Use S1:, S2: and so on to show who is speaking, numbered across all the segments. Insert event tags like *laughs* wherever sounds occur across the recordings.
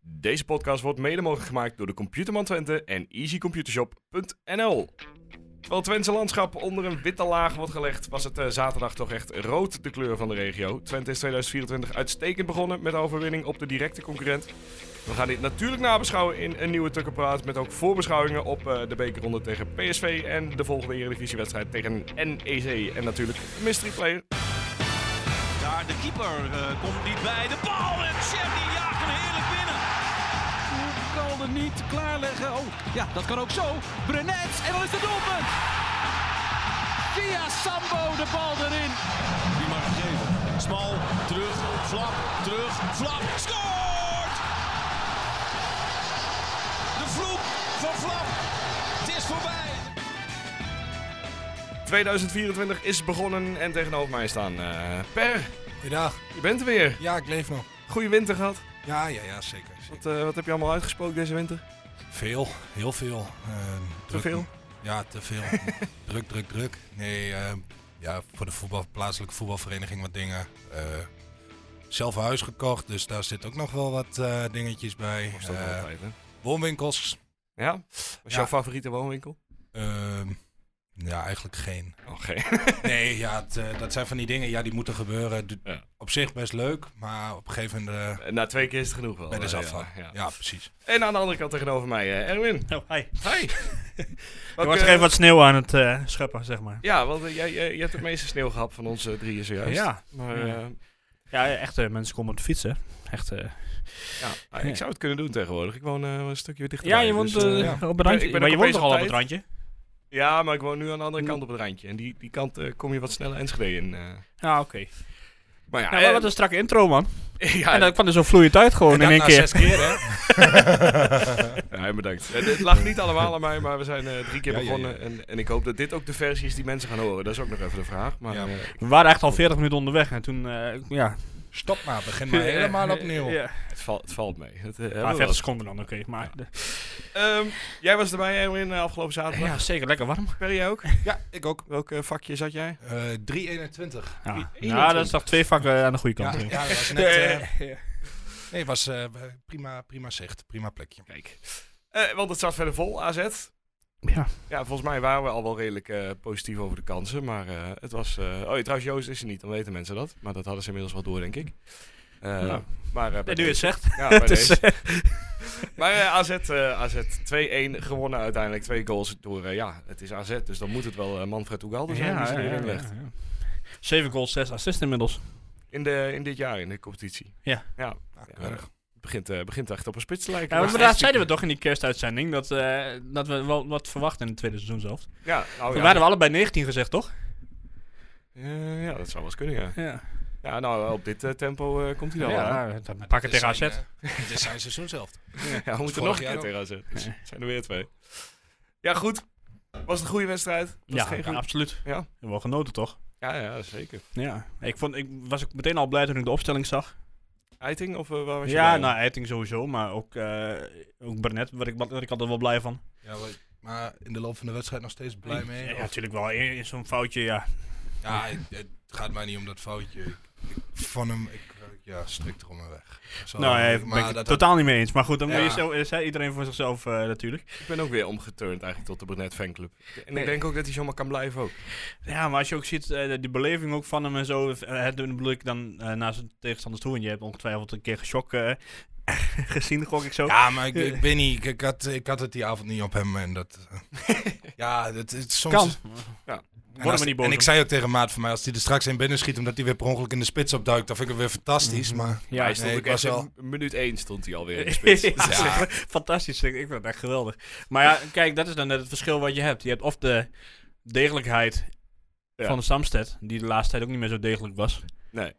S1: Deze podcast wordt mede mogelijk gemaakt door de Computerman Twente en easycomputershop.nl. Terwijl het Twentse landschap onder een witte laag wordt gelegd, was het eh, zaterdag toch echt rood de kleur van de regio. Twente is 2024 uitstekend begonnen met de overwinning op de directe concurrent. We gaan dit natuurlijk nabeschouwen in een nieuwe Tukkenpraat met ook voorbeschouwingen op eh, de bekerronde tegen PSV en de volgende Eredivisiewedstrijd tegen NEC en natuurlijk Mystery Player.
S2: Daar de keeper eh, komt niet bij. De bal en Chevy jaagt hem heerlijk binnen.
S3: kan er niet klaarleggen. Oh, ja, dat kan ook zo. Brenet en dan is het doelpunt. Via Sambo de bal erin.
S2: Die mag het geven. Smal, terug, flap, terug, flap. Scoort! De vloek van flap. Het is voorbij.
S1: 2024 is begonnen en tegenover mij staan eh, Per.
S4: Goedendag.
S1: Je bent er weer.
S4: Ja, ik leef nog.
S1: Goede winter gehad.
S4: Ja, ja, ja, zeker. zeker.
S1: Wat, eh, wat heb je allemaal uitgesproken deze winter?
S4: Veel, heel veel. Ehm, druk-
S1: veel?
S4: Ja, te veel.
S5: *laughs*
S4: druk, druk, druk. Nee, ehm, ja, voor de voetbal, plaatselijke voetbalvereniging wat dingen. Eh, zelf een huis gekocht, dus daar zit ook nog wel wat eh, dingetjes bij.
S1: Of is dat
S4: Eh,
S1: altijd, hè?
S4: woonwinkels.
S1: Ja? Wat is
S4: ja.
S1: jouw favoriete woonwinkel?
S4: Ehm, ja, eigenlijk geen.
S1: Oké. *laughs* Eh,
S4: Nee, ja, het, eh, dat zijn van die dingen, ja, die moeten gebeuren. Du-
S1: Ja.
S4: Op zich best leuk, maar op een gegeven moment eh,
S1: Na twee keer is het genoeg wel.
S4: ben je er
S1: eh,
S4: zat van.
S1: ja, ja.
S4: ja, precies.
S1: En aan de andere kant tegenover mij, eh, Erwin.
S5: Oh, hi.
S1: *laughs* Hi.
S5: Er
S1: Welke-
S5: was even wat sneeuw aan het eh scheppen, zeg maar.
S1: Ja, want eh, jij, jij, jij hebt het meeste sneeuw gehad van onze drieën zojuist.
S5: Ja.
S1: Maar
S5: Ja.
S1: eh,
S5: Ja, echt, eh, mensen komen op de fietsen. Echt, eh,
S1: ja, ah, ik zou het kunnen doen tegenwoordig. Ik woon eh, een stukje dichterbij.
S5: ja, je woont
S1: dus,
S5: eh,
S1: eh,
S4: ja.
S5: op het randje.
S1: Ik ben
S5: maar
S1: ook
S5: je
S1: opeens
S5: woont toch
S1: op
S5: al op het
S1: tijd.
S5: randje?
S1: ja, maar ik woon nu aan de andere kant op het randje. En die, die kant eh, kom je wat sneller Enschede in. eh.
S5: Ja, oké.
S1: Maar ja,
S5: Nou,
S1: eh,
S5: wat een strakke intro, man.
S1: *laughs* ja,
S5: en dat kwam dus er zo vloeiend uit gewoon
S4: En
S5: in
S4: dat
S5: één
S4: na
S5: keer.
S4: zes keer, hè?
S1: Ja, bedankt. Het, het lag niet allemaal aan mij, maar we zijn eh, drie keer
S4: Ja, ja,
S1: begonnen. En, en ik hoop dat dit ook de versie is die mensen gaan horen. Dat is ook nog even de vraag. Maar,
S4: Ja.
S1: eh,
S5: We waren echt al 40 minuten onderweg en toen, eh, ja.
S4: Stop maar,
S5: *laughs*
S4: begin maar helemaal opnieuw.
S5: Ja.
S1: het, valt het valt mee. Het, eh,
S5: Maar
S1: hebben we
S5: 40 seconden dan, oké. Maar de-
S1: wel. Ehm, jij was erbij, Erwin, eh, afgelopen zaterdag.
S5: ja, zeker lekker warm.
S1: Per, jij ook?
S4: Ja, ik ook.
S1: Welk eh, vakje zat jij?
S4: Eh 321.
S5: Ja. Nou,
S1: 21.
S5: dat is toch twee vakken eh, aan de goede
S4: Ja,
S5: kant.
S4: ja,
S5: *laughs*
S4: was net, eh, nee, was eh, prima, prima zicht, prima plekje.
S1: Kijk. Eh, want het zat verder vol, AZ.
S5: Ja.
S1: Ja, volgens mij waren we al wel redelijk eh, positief over de kansen. Maar eh, het was... eh, Oh, ja, trouwens, Joost is er niet. Dan weten mensen dat. Maar dat hadden ze inmiddels wel door, denk ik. Eh,
S5: Ja.
S1: Maar eh, bij
S5: Ja, nu je
S1: deze-
S5: het zegt. *laughs*
S1: Ja, bij
S5: Het is,
S1: deze. Maar eh, AZ, eh, AZ 2-1 gewonnen uiteindelijk. Twee goals door, eh, ja, het is AZ. Dus dan moet het wel eh, Manfred Ugalde zijn die ze erin legt.
S5: 7 goals, 6 assists inmiddels.
S1: In, de, in dit jaar in de competitie.
S5: Ja.
S1: ja
S4: Nou,
S1: Ja.
S4: keurig.
S1: het begint, eh, begint echt op een spits te lijken.
S5: Ja,
S1: Maar-
S5: maar daar zeiden we toch in die kerstuitzending dat, eh, dat we wel wat verwachten in het tweede seizoen zelf.
S1: Ja, nou,
S5: We
S1: ja.
S5: waren we allebei 19 gezegd, toch?
S1: Eh, ja, dat zou wel eens kunnen, ja.
S5: Ja.
S1: Ja, nou, op dit eh, tempo eh, komt hij
S5: ja,
S1: dan wel. aan.
S5: dan pakken
S4: Dit
S5: tegen AZ.
S4: zijn, eh, Dit is zijn seizoen zelf.
S1: Ja, we moeten
S4: vorig
S1: nog een
S4: jaar
S1: keer
S4: ook.
S1: tegen AZ. Dus het zijn er weer twee. Ja, goed. Was het een goede wedstrijd? Was het
S5: ja,
S1: geen
S5: ja,
S1: goede-
S5: absoluut.
S1: Ja.
S5: Wel genoten, toch?
S1: ja, ja, zeker.
S5: Ja. Ik, vond, ik was ook meteen al blij toen ik de opstelling zag.
S1: Eiting, of eh, waar was je
S5: Ja,
S1: bij?
S5: nou, Eiting sowieso, maar ook, eh ook Barnet, waar ik, waar ik altijd wel blij van.
S4: Ja, maar- maar in de loop van de wedstrijd nog steeds blij mee.
S5: Ja,
S4: Of-
S5: natuurlijk wel. In, in zo'n foutje, ja.
S4: Ja, het, het gaat mij niet om dat foutje. Ik, ik- van hem, ik, eh, ja, strikt erom en weg. Zo,
S5: nou, ja, ben ik het totaal niet mee eens. Maar goed, dan
S4: Ja.
S5: moet je zo, eh, zei iedereen voor zichzelf eh, natuurlijk.
S1: Ik ben ook weer omgeturnd eigenlijk tot de Brunet fanclub. En ik denk ook dat hij zomaar kan blijven ook.
S5: Ja, maar als je ook ziet, eh, die beleving ook van hem en zo. eh, Het bedoel ik dan eh naar zijn tegenstanders toe. En je hebt ongetwijfeld een keer geschokt eh, *laughs* gezien, gok ik zo.
S4: Ja, maar ik, ik weet niet, ik, ik had, ik had het die avond niet op hem en dat... eh, *laughs* ja, dat is soms...
S5: kan.
S4: En,
S5: Worden
S4: als-
S5: we niet boos.
S4: en ik
S5: om.
S4: zei ook tegen Maat van mij, als hij er straks in binnen schiet omdat hij weer per ongeluk in de spits opduikt, dan vind ik het weer
S5: Mhm.
S4: fantastisch, maar...
S1: Ja, hij stond
S4: nee,
S1: ook
S4: ik was
S1: echt in
S4: wel-
S1: m- minuut 1 stond hij alweer in
S5: *laughs*
S1: de spits.
S5: Ja, zeg, Fantastisch, ik, ik vind het echt geweldig. Maar ja, kijk, dat is dan net het verschil wat je hebt. Je hebt of de degelijkheid
S1: Ja.
S5: van de Samsted, die de laatste tijd ook niet meer zo degelijk was.
S1: Nee.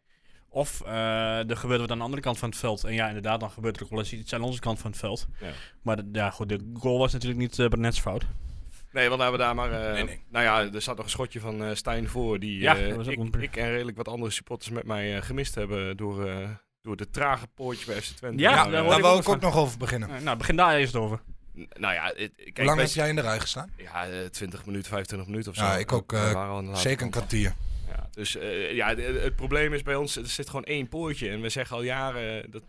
S5: Of eh, er gebeurt wat aan de andere kant van het veld. En ja, inderdaad, dan gebeurt er ook wel eens iets aan onze kant van het veld.
S1: Ja.
S5: Maar d- ja, goed, de goal was natuurlijk niet eh Barnett's fout.
S1: Nee, want hebben we daar maar... eh,
S4: Nee, nee.
S1: Nou ja, er zat nog een schotje van eh, Stijn voor. Die
S5: Ja,
S1: eh,
S5: dat was ook
S1: ik,
S5: een-
S1: ik en redelijk wat andere supporters met mij eh, gemist hebben door, eh, door de trage poortjes bij FC Twente.
S5: Ja,
S1: Maar,
S5: daar
S1: eh,
S5: hoor
S4: Daar
S5: ik
S4: wou
S5: ook
S4: ik
S5: van.
S4: ook nog over beginnen.
S5: Eh, nou, begin daar eerst over.
S1: n- Nou ja, het- kijk,
S4: Hoe lang heb
S1: best-
S4: jij in de rij gestaan?
S1: Ja, eh, 20 minuten, 25 minuten of zo.
S4: Ja, ik ook,
S1: We
S4: eh,
S1: waren al aan de late
S4: Zeker een
S1: kant.
S4: kwartier.
S1: Ja, dus eh, ja, de- het probleem is bij ons, er zit gewoon één poortje. En we zeggen al jaren, eh, dat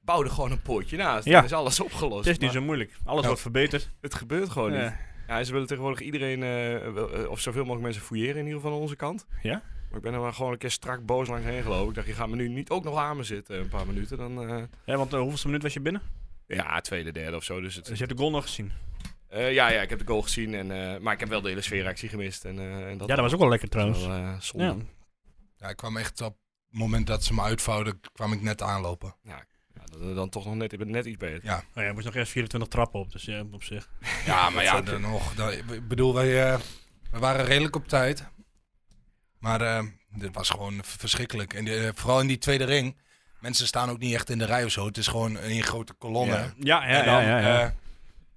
S1: bouw er gewoon een poortje naast.
S5: Ja.
S1: Dan is alles opgelost.
S5: Het is Oh, niet
S1: Maar
S5: zo moeilijk. Alles
S4: Ja.
S5: wordt verbeterd. Eh,
S1: het gebeurt gewoon
S5: Ja.
S1: niet. Ja, en ze willen tegenwoordig iedereen, eh, wel- eh, of zoveel mogelijk mensen fouilleren in ieder geval aan onze kant.
S5: Ja?
S1: Maar ik ben er wel gewoon een keer strak boos langs heen gelopen. Ik dacht, je gaat me nu niet ook nog aan me zitten een paar minuten. Dan, eh,
S5: Ja, want eh, hoeveelste minuut was je binnen?
S1: ja, tweede, derde of zo. Dus het,
S5: Dus je hebt de goal nog gezien.
S1: Eh, ja, ja, ik heb de goal gezien. En, eh, maar ik heb wel de hele sfeeractie gemist. En, eh, en dat
S5: Ja, dat was ook wel lekker
S1: was
S5: trouwens.
S1: wel eh, zonde.
S5: Ja.
S1: Ja.
S4: Ja, ik kwam echt op het moment dat ze me uitvouwden, kwam ik net aanlopen.
S1: dat- dat- dan toch nog net, ik ben net iets beter.
S5: *laughs*
S4: Ja.
S5: Oh ja, je moest nog eerst 24 trappen op, dus ja, op zich.
S4: Ja, maar ja, dan nog. dan- ik bedoel, wij, eh, we waren redelijk op tijd. Maar eh, dit was gewoon v- verschrikkelijk. En eh, vooral in die tweede ring. Mensen staan ook niet echt in de rij of zo. Het is gewoon een grote kolonne.
S1: Ja.
S5: Ja, ja,
S4: En dan,
S5: ja. ja, ja.
S4: eh,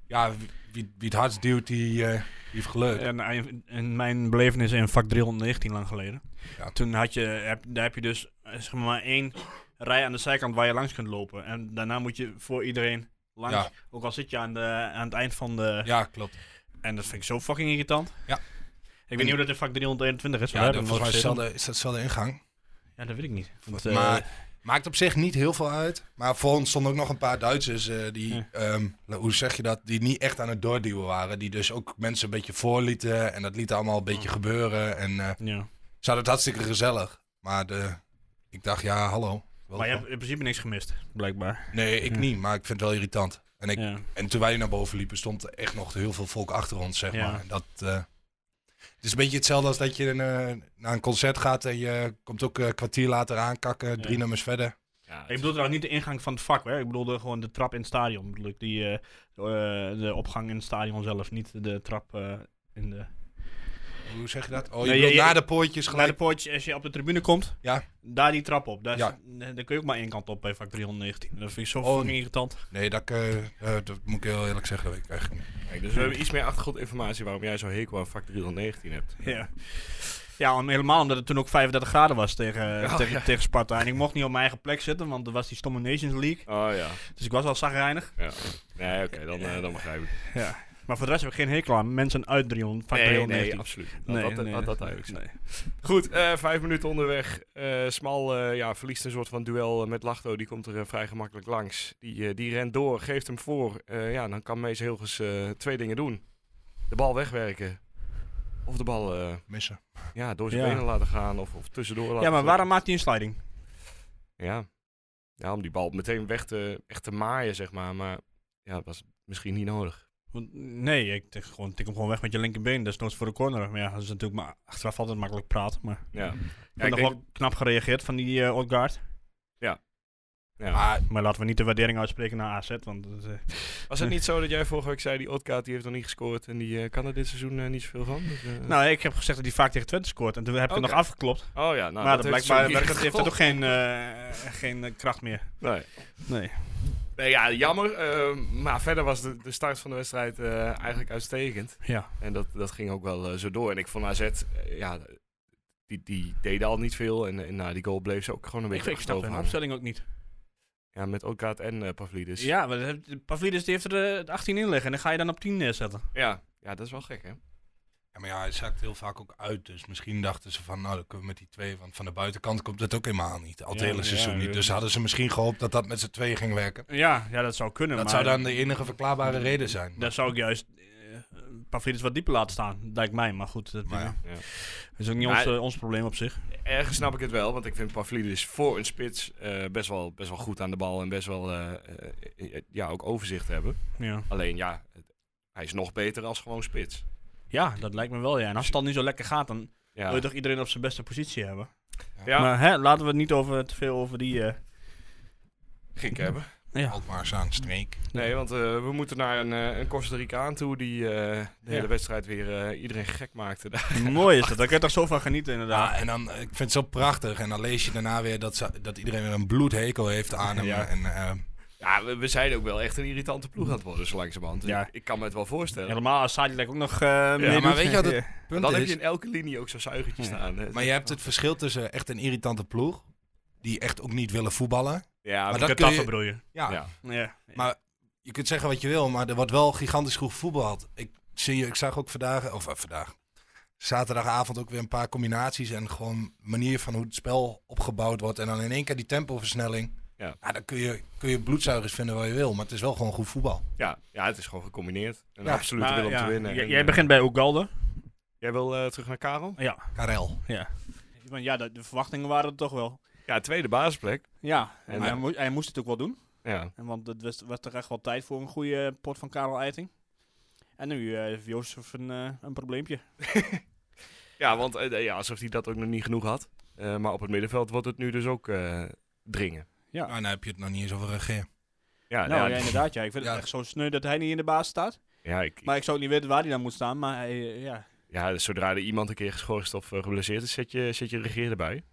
S4: ja, wie, wie het hardst duwt, die, eh, die heeft geluk.
S5: En, en- en mijn belevenis in vak 319 lang geleden.
S4: Ja.
S5: Toen had je, heb, daar heb je dus eh, zeg maar maar één rij aan de zijkant waar je langs kunt lopen. En daarna moet je voor iedereen langs.
S4: Ja.
S5: Ook al zit je aan, de, aan het eind van de...
S4: Ja, klopt.
S5: En dat vind ik zo fucking irritant.
S4: Ja.
S5: Ik weet niet hoe dat in vak 321 is. maar
S4: Ja,
S5: daar
S4: dat,
S5: heb ik
S4: volgens mij is
S5: nooit gezeten.
S4: hetzelfde- is dat dezelfde ingang.
S5: Ja, dat weet ik niet. Want, eh,
S4: maar maakt op zich niet heel veel uit. Maar voor ons stonden ook nog een paar Duitsers eh, die,
S5: Ja.
S4: ehm, hoe zeg je dat, die niet echt aan het doorduwen waren. Die dus ook mensen een beetje voorlieten en dat liet allemaal een
S5: Mm.
S4: beetje gebeuren. En eh,
S5: ja.
S4: ze hadden het hartstikke gezellig. Maar de, ik dacht, ja, hallo. Wel-
S5: maar je hebt in principe niks gemist, blijkbaar.
S4: Nee, ik
S5: Ja.
S4: niet, maar ik vind het wel irritant. En, ik,
S5: Ja.
S4: en toen wij naar boven liepen, stond er echt nog heel veel volk achter ons, zeg
S5: Ja.
S4: maar. En Dat, eh, het is een beetje hetzelfde als dat je eh, naar een concert gaat en je komt ook eh, een kwartier later aankakken, drie
S5: Ja.
S4: nummers verder.
S1: Ja,
S5: Ik bedoel trouwens niet de ingang van het vak, hè. ik bedoelde gewoon de trap in het stadion. Bedoel ik die, eh, eh, de opgang in het stadion zelf, niet de trap eh, in de...
S4: Hoe zeg je dat? Oh, je
S5: Nee,
S4: bedoelt
S5: je- je-
S4: na de poortjes
S5: Naar de
S4: gelijk.
S5: poortje, als je op de tribune komt,
S4: Ja.
S5: daar die trap op. Daar, is-
S4: Ja.
S5: eh, daar kun je ook maar één kant op bij vak 319. Dat vind ik zo
S4: Oh,
S5: fucking
S4: nee.
S5: irritant. *laughs*
S4: Nee, dat, eh, eh, dat moet ik heel eerlijk zeggen. Dat weet ik eigenlijk niet.
S1: Kijk, dus we hebben iets meer achtergrondinformatie waarom jij zo'n hekel aan factor 319 hebt.
S5: Ja. Ja, om- helemaal omdat het toen ook 35 graden was tegen,
S1: Oh,
S5: tegen,
S1: ja.
S5: tegen Sparta. En ik mocht niet op mijn eigen plek zitten, want er was die stomme Nations League.
S1: Oh ja.
S5: Dus ik was al zagrijnig.
S1: ja. Nee, oké, dan, eh, dan begrijp ik.
S5: Maar voor de rest heb ik geen hekel aan mensen uit 300, vak
S1: nee,
S5: 319.
S1: nee, absoluut. Laat dat, laat dat eigenlijk zijn.
S5: nee.
S1: Goed, eh, vijf minuten onderweg. Eh, Smal eh, ja, verliest een soort van duel eh, met Lachto. Die komt er eh, vrij gemakkelijk langs. Die, eh, die rent door, geeft hem voor. Eh, ja, dan kan Mees Hilgers eh, twee dingen doen. De bal wegwerken. Of de bal eh,
S4: Missen.
S1: ja, door zijn
S5: Ja.
S1: benen laten gaan. Of, of tussendoor laten
S5: Ja, maar
S1: gaan.
S5: waarom maakt hij een sliding?
S1: Ja. ja, om die bal meteen weg te, echt te maaien, zeg maar. Maar ja, dat was misschien niet nodig.
S5: Want, nee, ik tik, gewoon, tik hem gewoon weg met je linkerbeen. Dat is nooit voor de corner. Maar ja, dat is natuurlijk maar achteraf altijd makkelijk praten. Maar ik
S1: Ja, ja,
S5: heb
S1: ik
S5: nog
S1: denk-
S5: wel knap gereageerd van die eh Odgaard.
S1: ja.
S4: Maar
S5: Maar laten we niet de waardering uitspreken naar AZ. Want dat, eh,
S1: Was het niet zo dat jij vorige week zei, die Otkaat die heeft nog niet gescoord en die eh, kan er dit seizoen eh, niet zoveel van? Dus, eh,
S5: Nou, ik heb gezegd dat hij vaak tegen Twente scoort. En toen heb ik
S1: Oké.
S5: het nog afgeklopt.
S1: oh ja, nou,
S5: maar
S1: dat
S5: dat
S1: heeft
S5: blijkbaar
S1: zo
S5: werkt
S1: niet
S5: het- heeft dat ook geen, eh, geen eh, kracht meer.
S1: Nee.
S5: Nee.
S1: Nee, ja, jammer. eh, maar verder was de, de start van de wedstrijd eh, eigenlijk uitstekend.
S5: Ja.
S1: En dat, dat ging ook wel eh, zo door. En ik vond AZ, eh, ja, die, die deden al niet veel. En, en na die goal bleef ze ook gewoon een
S5: Ik,
S1: beetje
S5: ik snap
S1: achterover
S5: hun
S1: hangen.
S5: opstelling ook niet.
S1: Ja, met Otkaat en eh, Pavlidis.
S5: Ja, maar dat heeft- Pavlidis die heeft er eh, het 18 in liggen. En dan ga je dan op 10 neerzetten.
S1: ja. Ja, dat is wel gek, hè?
S4: ja, maar ja, hij zakt heel vaak ook uit. Dus misschien dachten ze van, nou, dan kunnen we met die twee. Want van de buitenkant komt het ook helemaal niet. Al het
S5: Ja,
S4: hele
S5: ja,
S4: seizoen niet.
S5: ja.
S4: Dus hadden ze misschien gehoopt dat dat met z'n tweeën ging werken.
S5: Ja, ja dat zou kunnen.
S4: Dat
S5: maar
S4: zou dan de enige verklaarbare reden zijn.
S5: Daar zou ik juist eh Pavlidis wat dieper laten staan, lijkt mij. Maar goed, dat eh,
S4: Maar ja.
S1: Ja.
S5: is ook niet
S1: Maar-
S5: ons, eh, ons probleem op zich.
S1: Ergens snap ik het wel, want ik vind Pavlidis voor een spits eh, best, wel, best wel goed aan de bal. En best wel, eh, eh, eh, ja, ook overzicht hebben.
S5: Ja,
S1: Alleen ja, het- hij is nog beter als gewoon spits.
S5: ja dat lijkt me wel. Ja. En als het dan niet zo lekker gaat, dan wil
S1: Ja,
S5: je toch iedereen op zijn beste positie hebben.
S1: ja
S5: Maar hè, laten we het niet over, te veel over die... eh,
S1: gek hebben.
S5: ja.
S4: Alkmaar aan streek.
S1: Nee, want eh, we moeten naar een, eh, een Costa Ricaan toe die eh, de
S5: Ja.
S1: hele wedstrijd weer eh, iedereen gek maakte. *laughs* daar.
S5: Mooi is dat. Daar kun je toch zo van genieten,
S4: Ja,
S5: inderdaad.
S4: en dan, ik vind het zo prachtig. En dan lees je daarna weer dat, ze, dat iedereen weer een bloedhekel heeft aan hem.
S5: Ja.
S4: En, eh,
S1: ja, we, we zijn ook wel echt een irritante ploeg aan het worden, zo langzamerhand. Dus
S5: Ja.
S1: Ik, ik kan me het wel voorstellen.
S5: Helemaal als Sadi lijkt ook nog eh meedoet.
S4: maar weet je wat het punt
S1: Dan
S4: is,
S1: heb je in elke linie ook zo'n zuigertje staan. hè.
S4: maar je hebt het verschil tussen echt een irritante ploeg, die echt ook niet willen voetballen.
S1: ja,
S4: maar
S1: maar
S4: dat
S5: dat
S4: kun
S5: kan
S4: je-
S5: bedoel je.
S4: Ja,
S1: Ja.
S5: Ja.
S4: Maar- je kunt zeggen wat je wil, maar er wordt wel gigantisch goed voetbald. Ik, zie, ik zag ook vandaag, of eh, vandaag, zaterdagavond ook weer een paar combinaties en gewoon manier van hoe het spel opgebouwd wordt. En dan in één keer die tempoversnelling.
S1: Ja.
S4: Nou, dan kun je, kun je bloedzuigers vinden waar je wil, maar het is wel gewoon goed voetbal.
S1: Ja, ja het is gewoon gecombineerd. Een
S4: Ja.
S1: absolute
S5: Maar
S1: wil om
S5: ja,
S1: te winnen.
S5: j-
S1: En,
S5: jij
S1: eh,
S5: begint bij Ugalde.
S1: jij wil eh, terug naar Karel?
S5: Ja.
S4: Karel.
S5: Want Ja, de, de verwachtingen waren er toch wel.
S1: Ja, tweede basisplek.
S5: Ja,
S1: En,
S5: maar
S1: eh,
S5: hij, moest, hij moest het ook wel doen.
S1: Ja.
S5: En Want het was, was toch echt wel tijd voor een goede pot van Karel Eiting. En nu eh, heeft Jozef een, eh, een probleempje.
S1: Ja, want eh, ja, alsof hij dat ook nog niet genoeg had. Eh, maar op het middenveld wordt het nu dus ook eh, dringen.
S4: Nou, dan heb je het nog niet eens over regeer.
S1: Ja,
S5: nou ja,
S1: ja,
S5: inderdaad. Ja. Ik vind
S4: Ja.
S5: het echt zo sneu dat hij niet in de baas staat.
S1: ja, ik,
S5: Maar ik zou ook niet weten waar hij dan moet staan. Maar hij, eh, ja.
S1: ja, dus zodra er iemand een keer geschorst of eh, geblesseerd is, zet je, zet je regeer erbij.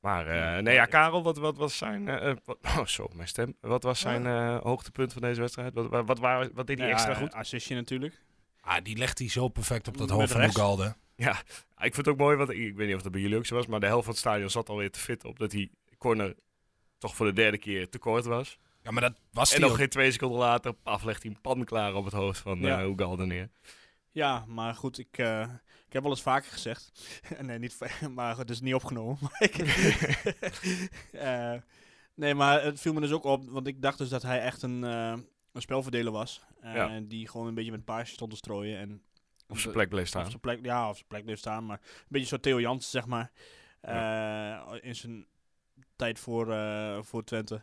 S1: Maar eh, nee, ja, Karel, wat, wat was zijn... eh, eh, wat, *laughs* oh, zo, mijn stem. Wat was zijn eh, hoogtepunt van deze wedstrijd? Wat, wat, wat, waren- wat deed hij
S5: Ja,
S1: extra
S5: eh,
S1: goed?
S5: Assistje natuurlijk.
S4: Ah, die legt hij zo perfect op dat
S5: Met
S4: hoofd van
S5: rechts.
S4: Ugalde.
S1: Ah, Ik vond het ook mooi, want ik, ik weet niet of dat bij jullie ook zo was, maar de helft van het stadion zat alweer te fit op dat die corner toch voor de derde keer te kort was.
S4: Ja, maar dat was
S1: En
S4: hij
S1: nog
S4: ook.
S1: geen twee seconden later, paf, legt hij een pan klaar op het hoofd van
S5: Ja.
S1: eh Ugalde neer.
S5: Ja, maar goed, ik, eh, ik heb wel eens vaker gezegd. *laughs* nee, niet, va- *laughs* maar goed, het is niet opgenomen. *laughs* Maar ik, Eh, nee, maar het viel me dus ook op, want ik dacht dus dat hij echt een, eh, een spelverdeler was. eh,
S1: Ja.
S5: Die gewoon een beetje met paasjes stond te strooien. En
S1: Op zijn plek bleef
S5: Op
S1: staan.
S5: zijn plek, ja, op zijn plek bleef staan. Maar een beetje zo Theo Jansen, zeg maar. eh, in zijn tijd voor, eh, voor Twente.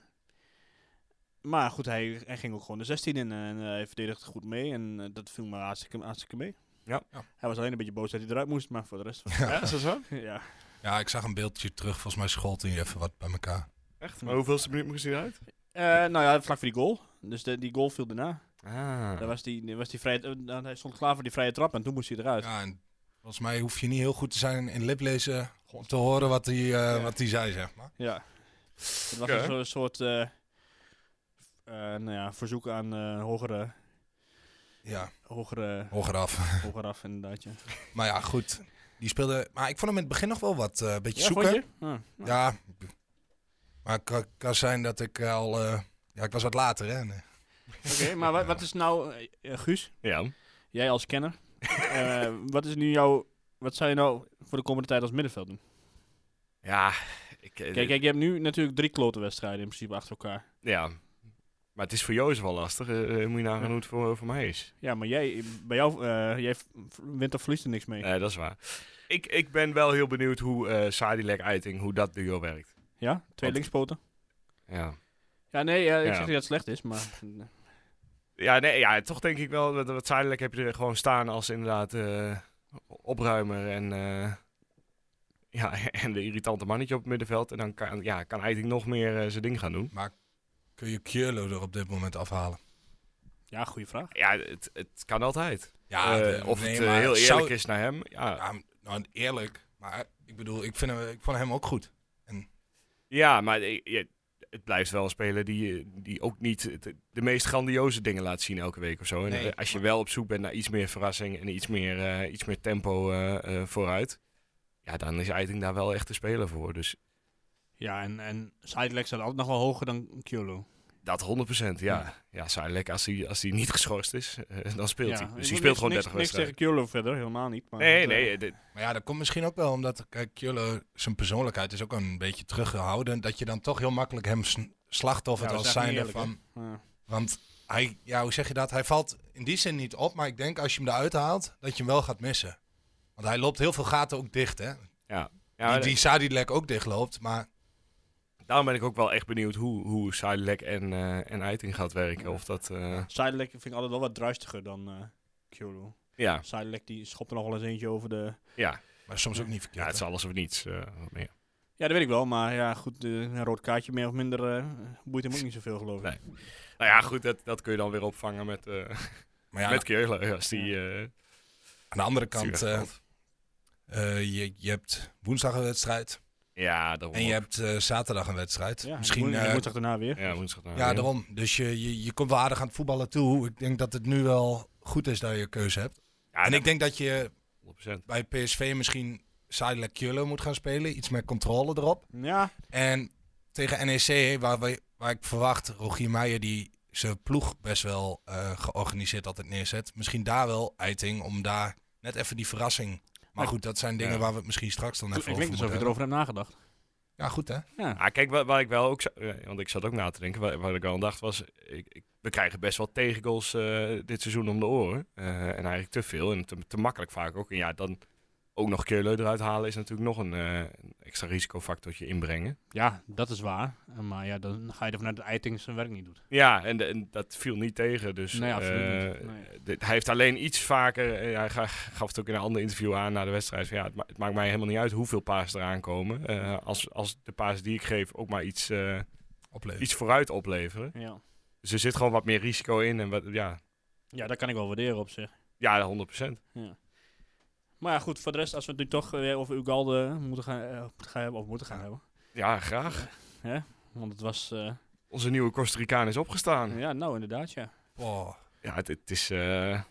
S5: Maar goed, hij, hij ging ook gewoon de 16 in. En eh, hij verdedigde goed mee. En eh, dat viel me hartstikke, hartstikke mee.
S1: Ja.
S4: Ja.
S5: Hij was alleen een beetje boos dat hij eruit moest. Maar voor de rest... was-
S1: Ja, is dat zo?
S5: *laughs* ja.
S4: Ja, ik zag een beeldje terug. Volgens mij scholt hij even wat bij elkaar.
S1: Echt? Maar hoeveelste minuut moest hij eruit?
S5: Eh, nou ja, vlak voor die goal. Dus de- die goal viel daarna.
S1: Ah.
S5: Daar was die, daar was die vrije, eh, nou, hij stond klaar voor die vrije trap en toen moest hij eruit.
S4: Ja, en volgens mij hoef je niet heel goed te zijn in liplezen om te horen wat hij, eh, wat hij zei, zeg maar.
S5: Ja. Het was
S1: Ja.
S5: een zo- soort eh, eh, nou ja, verzoek aan eh, hogere,
S4: Ja,
S5: hogere,
S4: hoger af.
S5: eh,
S4: *laughs*
S5: hoger af inderdaad. Ja.
S4: Maar ja, goed. Die speelde... Maar ik vond hem in het begin nog wel wat. eh, Een beetje
S5: Ja, vond
S4: zoeken.
S5: je? Ah, Ja.
S4: Ja. Maar het kan- kan zijn dat ik al... eh, ja, ik was wat later, hè. Nee.
S5: ah, Oké, maar wat, wat is nou, eh, eh, Guus,
S1: Ja.
S5: jij als kenner, eh, wat is nu jouw, wat zou je nou voor de komende tijd als middenveld doen?
S1: Ja. Ik, eh,
S5: Kijk, kijk je hebt nu natuurlijk drie klote wedstrijden in principe achter elkaar.
S1: Ja. Maar het is voor Jozef wel lastig. eh, eh, moet je nagaan hoe het voor, voor mij is.
S5: Ja, maar jij, bij jou, eh, jij v- wint of verliest er niks mee.
S1: Eh, dat is waar. Ik, ik ben wel heel benieuwd hoe eh Sadilek Eiting, hoe dat duo werkt.
S5: Ja, twee
S1: want-
S5: linkspoten.
S1: Ja.
S5: Ja, nee, eh, ik
S1: Ja.
S5: zeg niet dat het slecht is, maar...
S1: Ja, nee, ja, toch denk ik wel. dat- Wat Sadilek heb je er gewoon staan als inderdaad eh, opruimer en, eh, ja, *laughs* en de irritante mannetje op het middenveld. En dan kan, ja, kan Eiting nog meer eh, zijn ding gaan doen.
S4: Kun je Kierlo er op dit moment afhalen?
S5: Ja, goede vraag.
S1: Ja, het, het kan altijd.
S4: Ja,
S1: Eh,
S4: de-
S1: of
S4: nee,
S1: het eh,
S4: maar
S1: heel eerlijk
S4: zou-
S1: is naar hem. Ja,
S4: Ja, nou, eerlijk. Maar ik bedoel, ik, vind hem, ik vond hem ook goed.
S1: Ja, maar eh, ja, het blijft wel een speler die, eh, die ook niet het- de, meest grandioze dingen laat zien elke week of zo. En
S4: Nee,
S1: eh, als je
S4: maar-
S1: wel op zoek bent naar iets meer verrassing en iets meer, eh, iets meer tempo eh, eh, vooruit, ja, dan is Eiting daar wel echt de speler voor. Dus
S5: Ja, en, en Sidelec staat altijd nog wel hoger dan Kyolo.
S1: dat 100%. Ja, ja Sailek, als hij als hij niet geschorst is, *laughs* eh, dan speelt
S5: Ja,
S1: hij.
S5: ik
S1: Dus hij
S5: wil
S1: speelt
S5: niks-
S1: gewoon
S5: niks-
S1: 30
S5: Niks tegen
S1: wedstrijden.
S5: Kyolo verder, helemaal niet. Maar
S1: Nee,
S5: dat, eh,
S1: nee. eh, dit-
S4: Maar ja, dat komt misschien ook wel omdat, kijk, Kierlo, zijn persoonlijkheid is ook een beetje teruggehouden. Dat je dan toch heel makkelijk hem sn- slachtoffer
S5: Ja, dat
S4: als
S5: is eigenlijk
S4: zijnde
S5: niet eerlijk,
S4: van...
S5: ja.
S4: Want hij, ja, hoe zeg je dat? Hij valt in die zin niet op, maar ik denk als je hem eruit haalt, dat je hem wel gaat missen. Want hij loopt heel veel gaten ook dicht, hè?
S1: ja,
S4: die, die Sadilek ook dicht loopt, maar
S1: Daarom ben ik ook wel echt benieuwd hoe, hoe Sailek en, eh, en Eiting gaat werken. Of dat, eh,
S5: Sidelec vind ik altijd wel wat druistiger dan eh Kyolo.
S1: ja,
S5: Sidelec die schopt er nog wel eens eentje over de...
S1: ja.
S4: maar soms ook niet
S1: ja, het
S4: verkeerd.
S1: is alles of niets. eh, wat meer.
S5: Ja, dat weet ik wel, maar ja, goed, eh, een rood kaartje meer of minder eh, boeit hem ook niet zoveel, geloof ik.
S1: Nee. Nou ja, goed, dat, dat kun je dan weer opvangen met, eh
S4: hè? maar ja,
S1: met Keurle. Als die, eh,
S4: aan de andere
S1: die
S4: kant, eh,
S1: wegvalt.
S4: eh, je, je hebt woensdag een wedstrijd
S1: ja, daarom.
S4: en je hebt eh, zaterdag een wedstrijd.
S5: Ja,
S4: Misschien,
S5: Misschien...
S4: eh,
S5: Je moet toch daarna weer.
S1: ja, woensdag nou
S4: ja,
S1: weer.
S4: daarom. Dus je, je, je komt wel aardig aan het voetballen toe. Ik denk dat het nu wel goed is dat je een keuze hebt.
S1: Ah, Ja,
S4: en
S1: dat-
S4: ik denk dat je
S1: 100%.
S4: bij PSV misschien Sadilek Kierlo moet gaan spelen. Iets meer controle erop.
S5: Ja,
S4: En tegen NEC, waar, wij- waar ik verwacht, Rogier Meijer die zijn ploeg best wel eh, georganiseerd altijd neerzet. Misschien daar wel uiting om daar net even die verrassing. Maar
S5: Maar-
S4: goed, dat zijn dingen
S1: Ja.
S4: waar we het misschien straks dan
S5: ik
S4: even
S5: denk
S4: over
S5: alsof je
S4: moeten
S5: erover hebt nagedacht.
S4: Ja, goed hè?
S1: Ah, kijk, wa- waar ik wel ook... zou- eh, Want ik zat ook na te denken. Waar, waar ik wel aan dacht was... Ik, ik- we krijgen best wel tegengoals eh, dit seizoen om de oren. Eh, en eigenlijk te veel en te, te makkelijk vaak ook. En ja, dan ook nog een keer Leuder uithalen... is natuurlijk nog een, eh, een extra risicofactortje inbrengen.
S5: Ja, dat is waar. Eh, Maar ja, dan ga je ervan uit dat Eiting zijn werk niet doet.
S1: Ja, en, de- en dat viel niet tegen. Dus
S5: Nee, absoluut
S1: eh,
S5: niet. Nee.
S1: dit- hij heeft alleen iets vaker... eh, hij ga- gaf het ook in een ander interview aan na de wedstrijd. Van, ja, het, ma- het maakt mij helemaal niet uit hoeveel paas eraan komen. Eh, als, als de paas die ik geef ook maar iets, eh,
S4: Opleveren.
S1: iets vooruit opleveren.
S5: Ja.
S1: Dus er zit gewoon wat meer risico in. En wat, ja,
S5: ja, dat kan ik wel waarderen op zich.
S1: ja, 100%.
S5: Maar ja, goed, voor de rest, als we het nu toch eh, weer over Ugalde moeten gaan, eh, moeten gaan hebben, of moeten gaan
S4: Ja.
S5: hebben.
S1: Ja, graag.
S5: Want het was, eh,
S1: Onze nieuwe Costa Ricaan is opgestaan.
S5: ja, nou inderdaad, ja.
S4: Oh,
S1: Ja, het, het is... eh ja,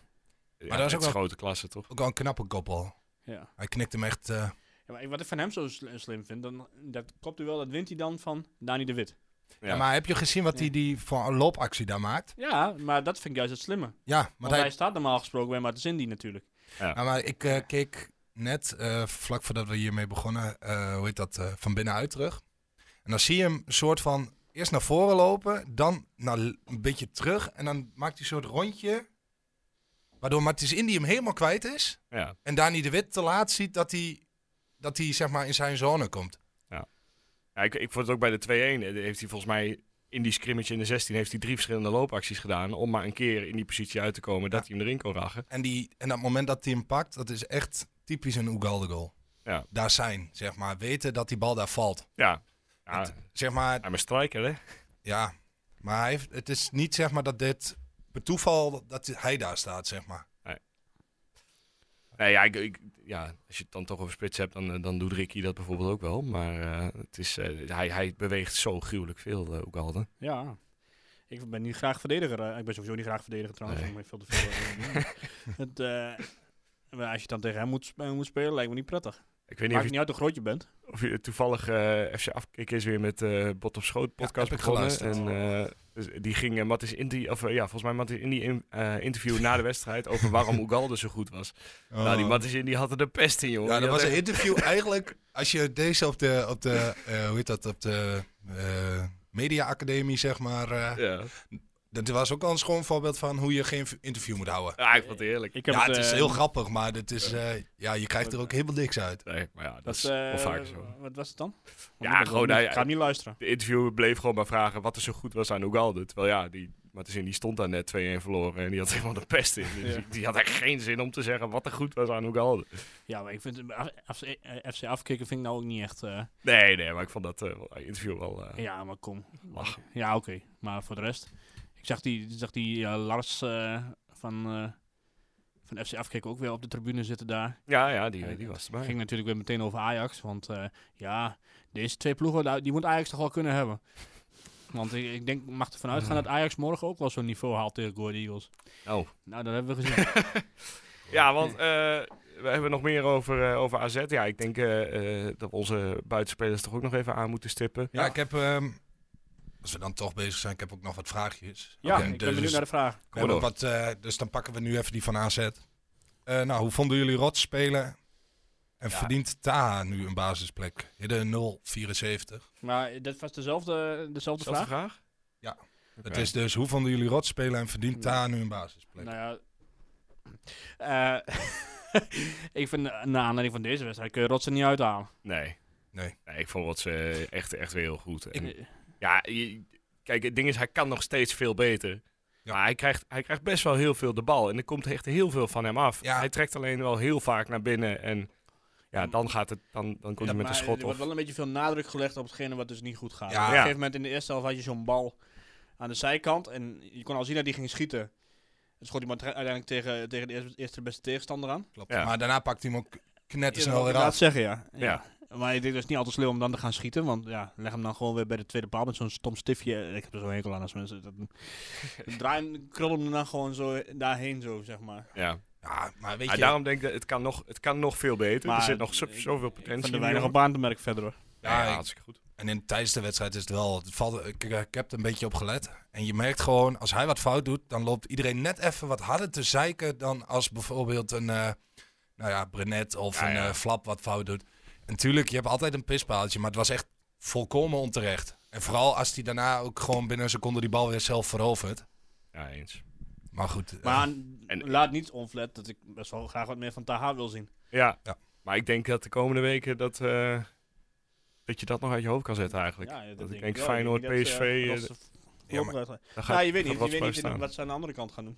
S4: dat is
S1: het
S4: ook wel-
S1: grote klasse, toch?
S4: ook wel een knappe koppel.
S5: ja.
S4: Hij knikt hem echt... eh,
S5: Ja, maar ik- wat ik van hem zo sl- slim vind, dan, dat klopt u wel, dat wint hij dan van Dani de Wit.
S1: Ja,
S4: ja, maar heb je gezien wat
S5: Ja.
S4: hij die voor een loopactie daar maakt?
S5: Ja, maar dat vind ik juist het slimme.
S4: Ja, maar
S5: Want hij, staat normaal gesproken bij Martin Cindy natuurlijk.
S4: Ja, maar ik eh, keek net, eh, vlak voordat we hiermee begonnen, eh, hoe heet dat, eh, van binnenuit terug. En dan zie je hem soort van eerst naar voren lopen, dan naar, l- een beetje terug en dan maakt hij een soort rondje. Waardoor Martins Indy hem helemaal kwijt is.
S1: Ja.
S4: En Dani de Wit te laat ziet dat hij, dat hij zeg maar in zijn zone komt.
S1: Ja, ik, ik vond het ook bij de 2-1. eh, Heeft hij volgens mij in die scrimmage in de 16 heeft hij drie verschillende loopacties gedaan. Om maar een keer in die positie uit te komen dat
S4: Ja.
S1: hij hem erin kon ragen.
S4: En, die, en dat moment dat hij hem pakt, dat is echt typisch een Ugalde goal.
S1: Ja.
S4: Daar zijn, zeg maar, weten dat die bal daar valt.
S1: Ja. ja
S4: Het- Zeg maar,
S1: I'm a striker, hè?
S4: Ja, maar hij heeft, het is niet zeg maar dat dit per toeval dat hij daar staat, zeg maar.
S1: Nee, ja, ik, ik- ja, als je het dan toch over spits hebt, dan, eh, dan doet Ricky dat bijvoorbeeld ook wel. Maar eh, het is, eh, hij, hij beweegt zo gruwelijk veel, eh Ugalde.
S5: Ja. Ik ben niet graag verdediger. eh, Ik ben sowieso niet graag verdediger trouwens.
S1: Nee.
S5: omdat Ik veel te veel. eh, doen. het, eh, maar als je dan tegen hem moet, sp- eh, moet spelen, lijkt me niet prettig.
S1: Ik weet niet of
S5: Maakt
S1: je
S5: niet uit hoe groot je bent.
S1: of je toevallig eh FC Afkik is weer met eh Bot op Schoot podcast
S4: heb ik
S1: begonnen.
S4: geluisterd.
S1: En eh, dus die ging eh, Mattis Inti, of eh, ja, volgens mij Mattis Inti in, eh, interview na de wedstrijd over *laughs* waarom Ugalde zo goed was. Nou, die Mattis Inti had er de pest in, jongen.
S4: Oh. ja, dat
S1: Die
S4: was
S1: had
S4: een interview eigenlijk. Als je deze op de, op de eh, hoe heet dat, op de eh, media academie, zeg maar. eh,
S1: echt-
S4: dat was ook al een schoon voorbeeld van hoe je geen interview moet houden.
S1: Ja, Ja, ik vond het heerlijk.
S5: Ik heb
S4: Ja,
S5: het,
S4: het is
S5: eh,
S4: heel grappig, maar het is, eh, ja, je krijgt er ook helemaal niks uit.
S1: Nee, maar ja, dat,
S5: dat,
S1: is
S5: eh,
S1: wel vaker zo.
S5: Wat was het dan?
S1: Ja,
S5: Want ik-
S1: gewoon, hij-
S5: Ik ga hem niet luisteren.
S1: De interviewer bleef gewoon maar vragen wat er zo goed was aan Ugalde. Terwijl ja, die Mattis Inti stond daar net 2-1 verloren en die had *laughs* helemaal de pest in. Dus
S5: Ja.
S1: die, die had echt geen zin om te zeggen wat er goed was aan Ugalde.
S5: Ja, maar ik vind eh, af- af- eh, FC afkicken vind ik nou ook niet echt... eh,
S1: Nee, nee, maar ik vond dat eh, interview wel... eh,
S5: ja, maar kom.
S1: Lachen.
S5: Ja, oké. Maar voor de rest. Ik zag die, zag die eh, Lars eh, van, eh, van FC afkicken ook weer op de tribune zitten daar.
S1: ja, ja, die, die was erbij.
S5: ging natuurlijk weer meteen over Ajax. Want eh, ja, deze twee ploegen, nou, die moet Ajax toch wel kunnen hebben. Want ik, ik denk, ik mag ervan uitgaan dat Ajax morgen ook wel zo'n niveau haalt tegen Go Ahead Eagles.
S1: Oh.
S5: Nou, dat hebben we gezien.
S1: Ja, want eh, we hebben nog meer over, eh, over AZ. Ja, ik denk eh, eh, dat we onze buitenspelers toch ook nog even aan moeten stippen.
S4: Ja, ik heb, ehm, als we dan toch bezig zijn, ik heb ook nog wat vraagjes.
S5: *laughs* ja,
S4: Oké,
S5: ik ben
S4: dus-
S5: benieuwd naar de vraag.
S4: We hebben
S1: door.
S4: wat, eh, dus dan pakken we nu even die van AZ. Eh, nou, hoe vonden jullie Rot spelen? En
S1: Ja.
S4: verdient Taha nu een basisplek? Hidden 074.
S5: Maar eh, dat was dezelfde, dezelfde
S1: Is dat de
S5: vraag?
S1: vraag?
S4: Ja.
S1: Oké.
S4: Het is dus, hoe vonden jullie Rot spelen en verdient
S5: Ja.
S4: Taha nu een basisplek?
S5: Nou ja. eh, *laughs* ik vind, eh, naar aanleiding van deze wedstrijd kun je Rotsen niet uithalen.
S1: Nee.
S4: Nee.
S1: Ik vond wat ze echt, echt weer heel goed. En,
S5: Ik-
S1: Ja, je- kijk, het ding is, hij kan nog steeds veel beter.
S4: Ja.
S1: Maar hij krijgt, hij krijgt best wel heel veel de bal. En er komt echt heel veel van hem af.
S4: Ja.
S1: Hij trekt alleen wel heel vaak naar binnen. En ja, dan, gaat het, dan, dan komt
S5: Ja,
S1: hij met
S5: maar
S1: een schot
S5: Er
S1: of...
S5: wordt wel een beetje veel nadruk gelegd op hetgene wat dus niet goed gaat.
S4: Ja.
S5: Op een
S1: Ja.
S5: gegeven moment in de eerste helft had je zo'n bal aan de zijkant. En je kon al zien dat die ging schieten. Het schot iemand tre- uiteindelijk tegen, tegen de eerste, eerste beste tegenstander aan.
S4: Klopt.
S1: Ja.
S4: Maar daarna pakt hij hem ook knettersnel
S5: Ja,
S4: weer
S5: laat
S4: af.
S5: zeggen, ja. ja.
S1: Ja.
S5: Maar ik denk dus niet altijd slim om dan te gaan schieten. Want ja, leg hem dan gewoon weer bij de tweede paal met zo'n stom stiftje. Ik heb er zo'n hekel aan als mensen. Dat, draai hem, krul hem dan gewoon zo daarheen zo, zeg maar.
S1: Ja.
S4: Ja, maar weet
S1: Maar
S4: je,
S1: daarom denk ik, dat het kan nog, het kan nog veel beter.
S5: Maar
S1: er zit nog zo-
S5: ik-
S1: zoveel
S5: Ik
S1: potentie
S5: vind er
S1: in.
S5: weinig
S1: die
S5: op aan te merken verder. hoor.
S1: jongen. Ja,
S4: Ja, ik-
S1: hartstikke goed.
S4: en in, tijdens de wedstrijd is het wel, het valt, ik, ik heb er een beetje op gelet. En je merkt gewoon, als hij wat fout doet, dan loopt iedereen net even wat harder te zeiken dan als bijvoorbeeld een, eh, nou ja, Brenet of
S1: Ja,
S4: een
S1: ja.
S4: eh, Flap wat fout doet. En natuurlijk, je hebt altijd een pispaaltje, maar het was echt volkomen onterecht. En vooral als hij daarna ook gewoon binnen een seconde die bal weer zelf verovert.
S1: Ja, eens.
S4: Maar goed. eh,
S5: Maar
S1: en-
S5: laat niet onflat dat ik best wel graag wat meer van Taha wil zien.
S1: Ja.
S4: Ja.
S1: maar ik denk dat de komende weken dat, eh, dat je dat nog uit je hoofd kan zetten eigenlijk.
S5: Ja,
S1: dat ik
S5: wel.
S1: denk Feyenoord,
S5: denk dat,
S1: PSV,
S5: eh,
S1: eh,
S5: als ze v-
S4: Ja, maar-
S5: voorbereid zijn.
S1: daar
S5: Ja,
S1: gaat-
S5: Nou, je weet
S1: gaat
S5: niet,
S1: wat
S5: je weet niet
S1: staan.
S5: wat ze aan de andere kant gaan doen.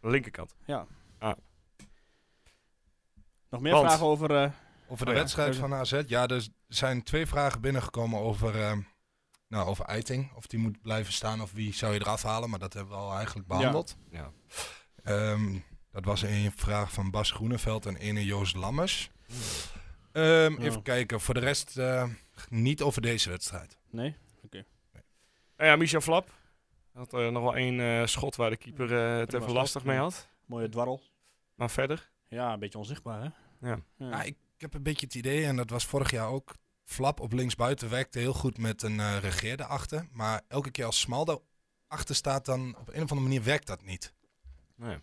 S1: Linkerkant.
S5: Nog meer
S1: Want-
S5: vragen over... eh,
S4: Over de
S1: Oh ja.
S4: wedstrijd van AZ. Ja, er zijn twee vragen binnengekomen over, ehm, nou, over Eiting. Of die moet blijven staan of wie zou je eraf halen. Maar dat hebben we al eigenlijk behandeld.
S1: Ja.
S4: Ehm, dat was een vraag van Bas Groeneveld en ene Joost Lammers.
S1: Hmm.
S4: Ehm,
S5: Ja.
S4: Even kijken. Voor de rest eh, niet over deze wedstrijd.
S5: nee?
S1: Nou ja, Michel Flap. Had eh, nog wel één eh, schot waar de keeper eh, het
S5: Prima
S1: even
S5: schot,
S1: lastig mee
S5: ja.
S1: had.
S5: Mooie dwarrel.
S1: Maar verder.
S5: Ja, een beetje onzichtbaar, hè?
S1: Ja.
S4: Ja, Ah, ik, ik heb een beetje het idee, en dat was vorig jaar ook. Flap op linksbuiten werkte heel goed met een eh regeer erachter. Maar elke keer als Smal daarachter staat, dan op een of andere manier werkt dat niet.
S1: Nee.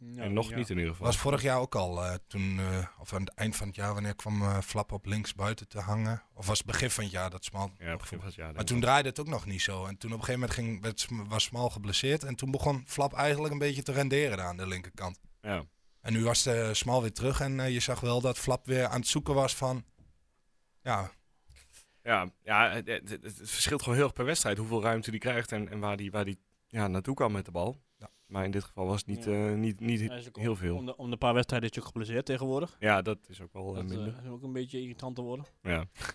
S5: Ja,
S1: en nog
S5: ja.
S1: niet in ieder geval.
S4: was vorig jaar ook al, eh, toen, eh, of aan het eind van het jaar, wanneer kwam eh, Flap op links buiten te hangen. Of was het begin van het jaar dat Smal.
S1: ja, begin van het jaar.
S4: Maar
S1: denk ik.
S4: toen draaide het ook nog niet zo. En toen op een gegeven moment ging, werd Sm- was Smal geblesseerd. En toen begon Flap eigenlijk een beetje te renderen daar aan de linkerkant.
S1: Ja.
S4: En nu was eh Smal weer terug en eh, je zag wel dat Flap weer aan het zoeken was van... Ja,
S1: Ja, ja het, het- het- het verschilt gewoon heel erg per wedstrijd hoeveel ruimte die krijgt en, en waar die, waar die ja, naartoe kan met de bal.
S4: Ja.
S1: Maar in dit geval was het niet,
S5: Ja.
S1: eh, niet, niet
S5: Hij is ook
S1: heel
S5: om-
S1: veel.
S5: Om de, om de paar wedstrijden is hij ook geblesseerd tegenwoordig.
S1: Ja, dat is ook wel eh,
S5: Dat eh,
S1: minder.
S5: is ook een beetje irritant te worden.
S1: Ja. *laughs*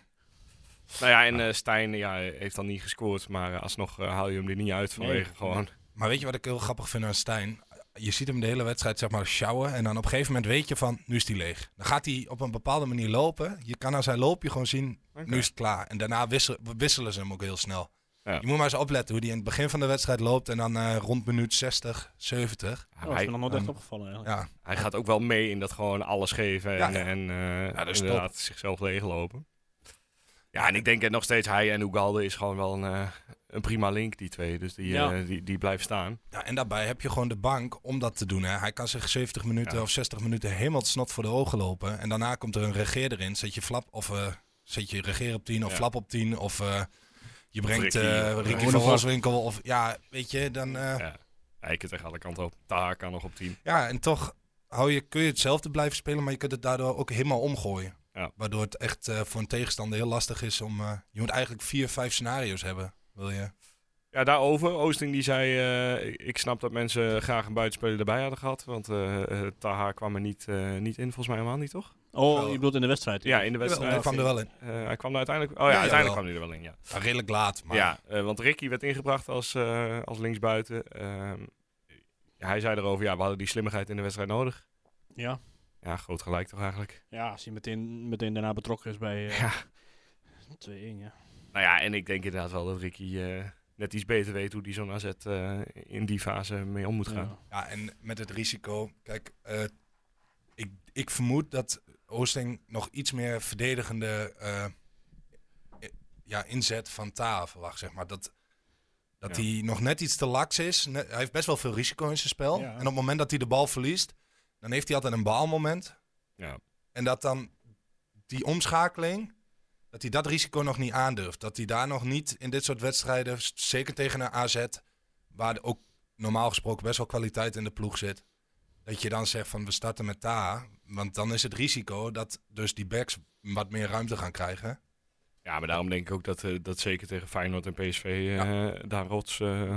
S1: nou ja, en eh, Stijn ja, heeft dan niet gescoord, maar eh, alsnog eh, haal je hem er niet uit vanwege
S5: Nee.
S1: gewoon.
S4: maar weet je wat ik heel grappig vind aan Stijn? Je ziet hem de hele wedstrijd zeg maar sjouwen. En dan op een gegeven moment weet je van, nu is hij leeg. Dan gaat hij op een bepaalde manier lopen. Je kan aan zijn loopje gewoon zien,
S1: Oké.
S4: Nu is het klaar. En daarna wissel- wisselen ze hem ook heel snel.
S1: Ja.
S4: Je moet maar eens opletten hoe die in het begin van de wedstrijd loopt. En dan eh, rond minuut 60, 70.
S1: Ja,
S5: Ja,
S1: maar
S5: dat Oh, is
S1: hij,
S5: me nog nooit echt
S4: ehm,
S5: opgevallen
S1: Oh.
S5: eigenlijk.
S4: Ja,
S1: hij gaat ook wel mee in dat gewoon alles geven en,
S4: Ja, ja.
S1: en eh,
S4: dat is top.
S1: inderdaad zichzelf leeglopen. Ja, en ik denk dat nog steeds hij en Ugalde is gewoon wel een, eh, een prima link, die twee. Dus die,
S5: Ja.
S1: eh, die, die blijft staan.
S4: ja, en daarbij heb je gewoon de bank om dat te doen. Hè. Hij kan zich 70 minuten
S1: Ja.
S4: of 60 minuten helemaal het snot voor de ogen lopen. En daarna komt er een regeer erin. Zet je flap of eh, zet je regeer op 10 of
S1: Ja.
S4: flap op 10. Of eh, je brengt
S1: Ricky,
S4: eh,
S1: of,
S4: Ricky
S1: eh,
S4: van Wolfswinkel. Of ja, weet je, dan. eh,
S1: Ja. Ja, je kunt echt alle kanten op. Taha kan nog op 10.
S4: Ja, en toch hou je, kun je hetzelfde blijven spelen, maar je kunt het daardoor ook helemaal omgooien.
S1: Ja.
S4: Waardoor het echt eh, voor een tegenstander heel lastig is om... eh, je moet eigenlijk vier, vijf scenario's hebben, wil je?
S1: Ja, daarover. Oosting die zei, eh, ik- ik snap dat mensen graag een buitenspeler erbij hadden gehad. Want eh, eh, Taha kwam er niet, eh, niet in, volgens mij helemaal niet, toch?
S5: Oh, je bedoelt in de wedstrijd?
S1: Ja, in de
S4: Jawel,
S1: wedstrijd.
S4: hij kwam er wel in.
S1: Eh, hij kwam er uiteindelijk... Oh ja,
S4: Ja,
S1: uiteindelijk
S4: jawel.
S1: kwam hij er wel in, ja.
S4: Ja, redelijk laat, maar...
S1: Ja, eh, want Ricky werd ingebracht als, eh, als linksbuiten. Ehm, hij zei erover, ja, we hadden die slimmigheid in de wedstrijd nodig.
S5: Ja,
S1: Ja, groot gelijk toch eigenlijk.
S5: ja als hij meteen, meteen daarna betrokken is bij eh
S1: Ja.
S5: 2-1, ja.
S1: Nou ja, en ik denk inderdaad wel dat Ricky eh, net iets beter weet hoe die zo'n AZ eh, in die fase mee om moet gaan.
S5: Ja.
S4: Ja, en met het risico... Kijk, eh, ik, ik vermoed dat Oosting nog iets meer verdedigende eh, i- ja, inzet van Taha verwacht, zeg maar. Dat, dat
S1: Ja.
S4: hij nog net iets te laks is. Ne- hij heeft best wel veel risico in zijn spel.
S5: Ja.
S4: En op het moment dat hij de bal verliest, dan heeft hij altijd een baalmoment.
S1: Ja.
S4: En dat dan die omschakeling, dat hij dat risico nog niet aandurft. Dat hij daar nog niet in dit soort wedstrijden, s- zeker tegen een AZ, waar ook normaal gesproken best wel kwaliteit in de ploeg zit. Dat je dan zegt van we starten met Taha. Want dan is het risico dat dus die backs wat meer ruimte gaan krijgen.
S1: Ja, maar daarom denk ik ook dat, eh, dat zeker tegen Feyenoord en PSV eh, daar rots eh, gewoon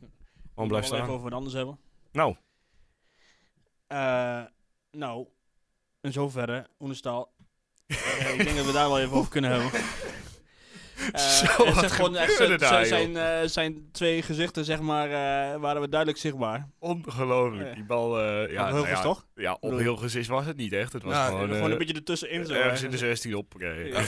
S5: Moeten we
S1: blijft
S5: wel
S1: staan.
S5: even over wat anders hebben.
S1: Nou,
S5: Eh, nou, in zoverre, Oenestaal. Eh, ik denk dat we daar wel even over kunnen
S1: *laughs*
S5: hebben. Eh,
S1: Zo,
S5: er
S1: wat
S5: zijn gewoon echt-
S1: gebeurde daar,
S5: zijn-
S1: joh?
S5: zijn, eh, zijn twee gezichten, zeg maar, eh, waren we duidelijk zichtbaar.
S1: ongelooflijk.
S5: Ja.
S1: Die bal... eh ja,
S5: Ja,
S1: nou
S5: Hilgers
S1: ja,
S5: toch?
S1: Ja, op
S5: bedoel-
S1: Hilgers is was het niet echt. Het was
S4: Nou,
S1: gewoon,
S5: gewoon
S1: eh,
S5: een beetje ertussenin zo.
S1: ergens in de
S5: eigenlijk.
S1: 16 op. oké.
S5: Ja.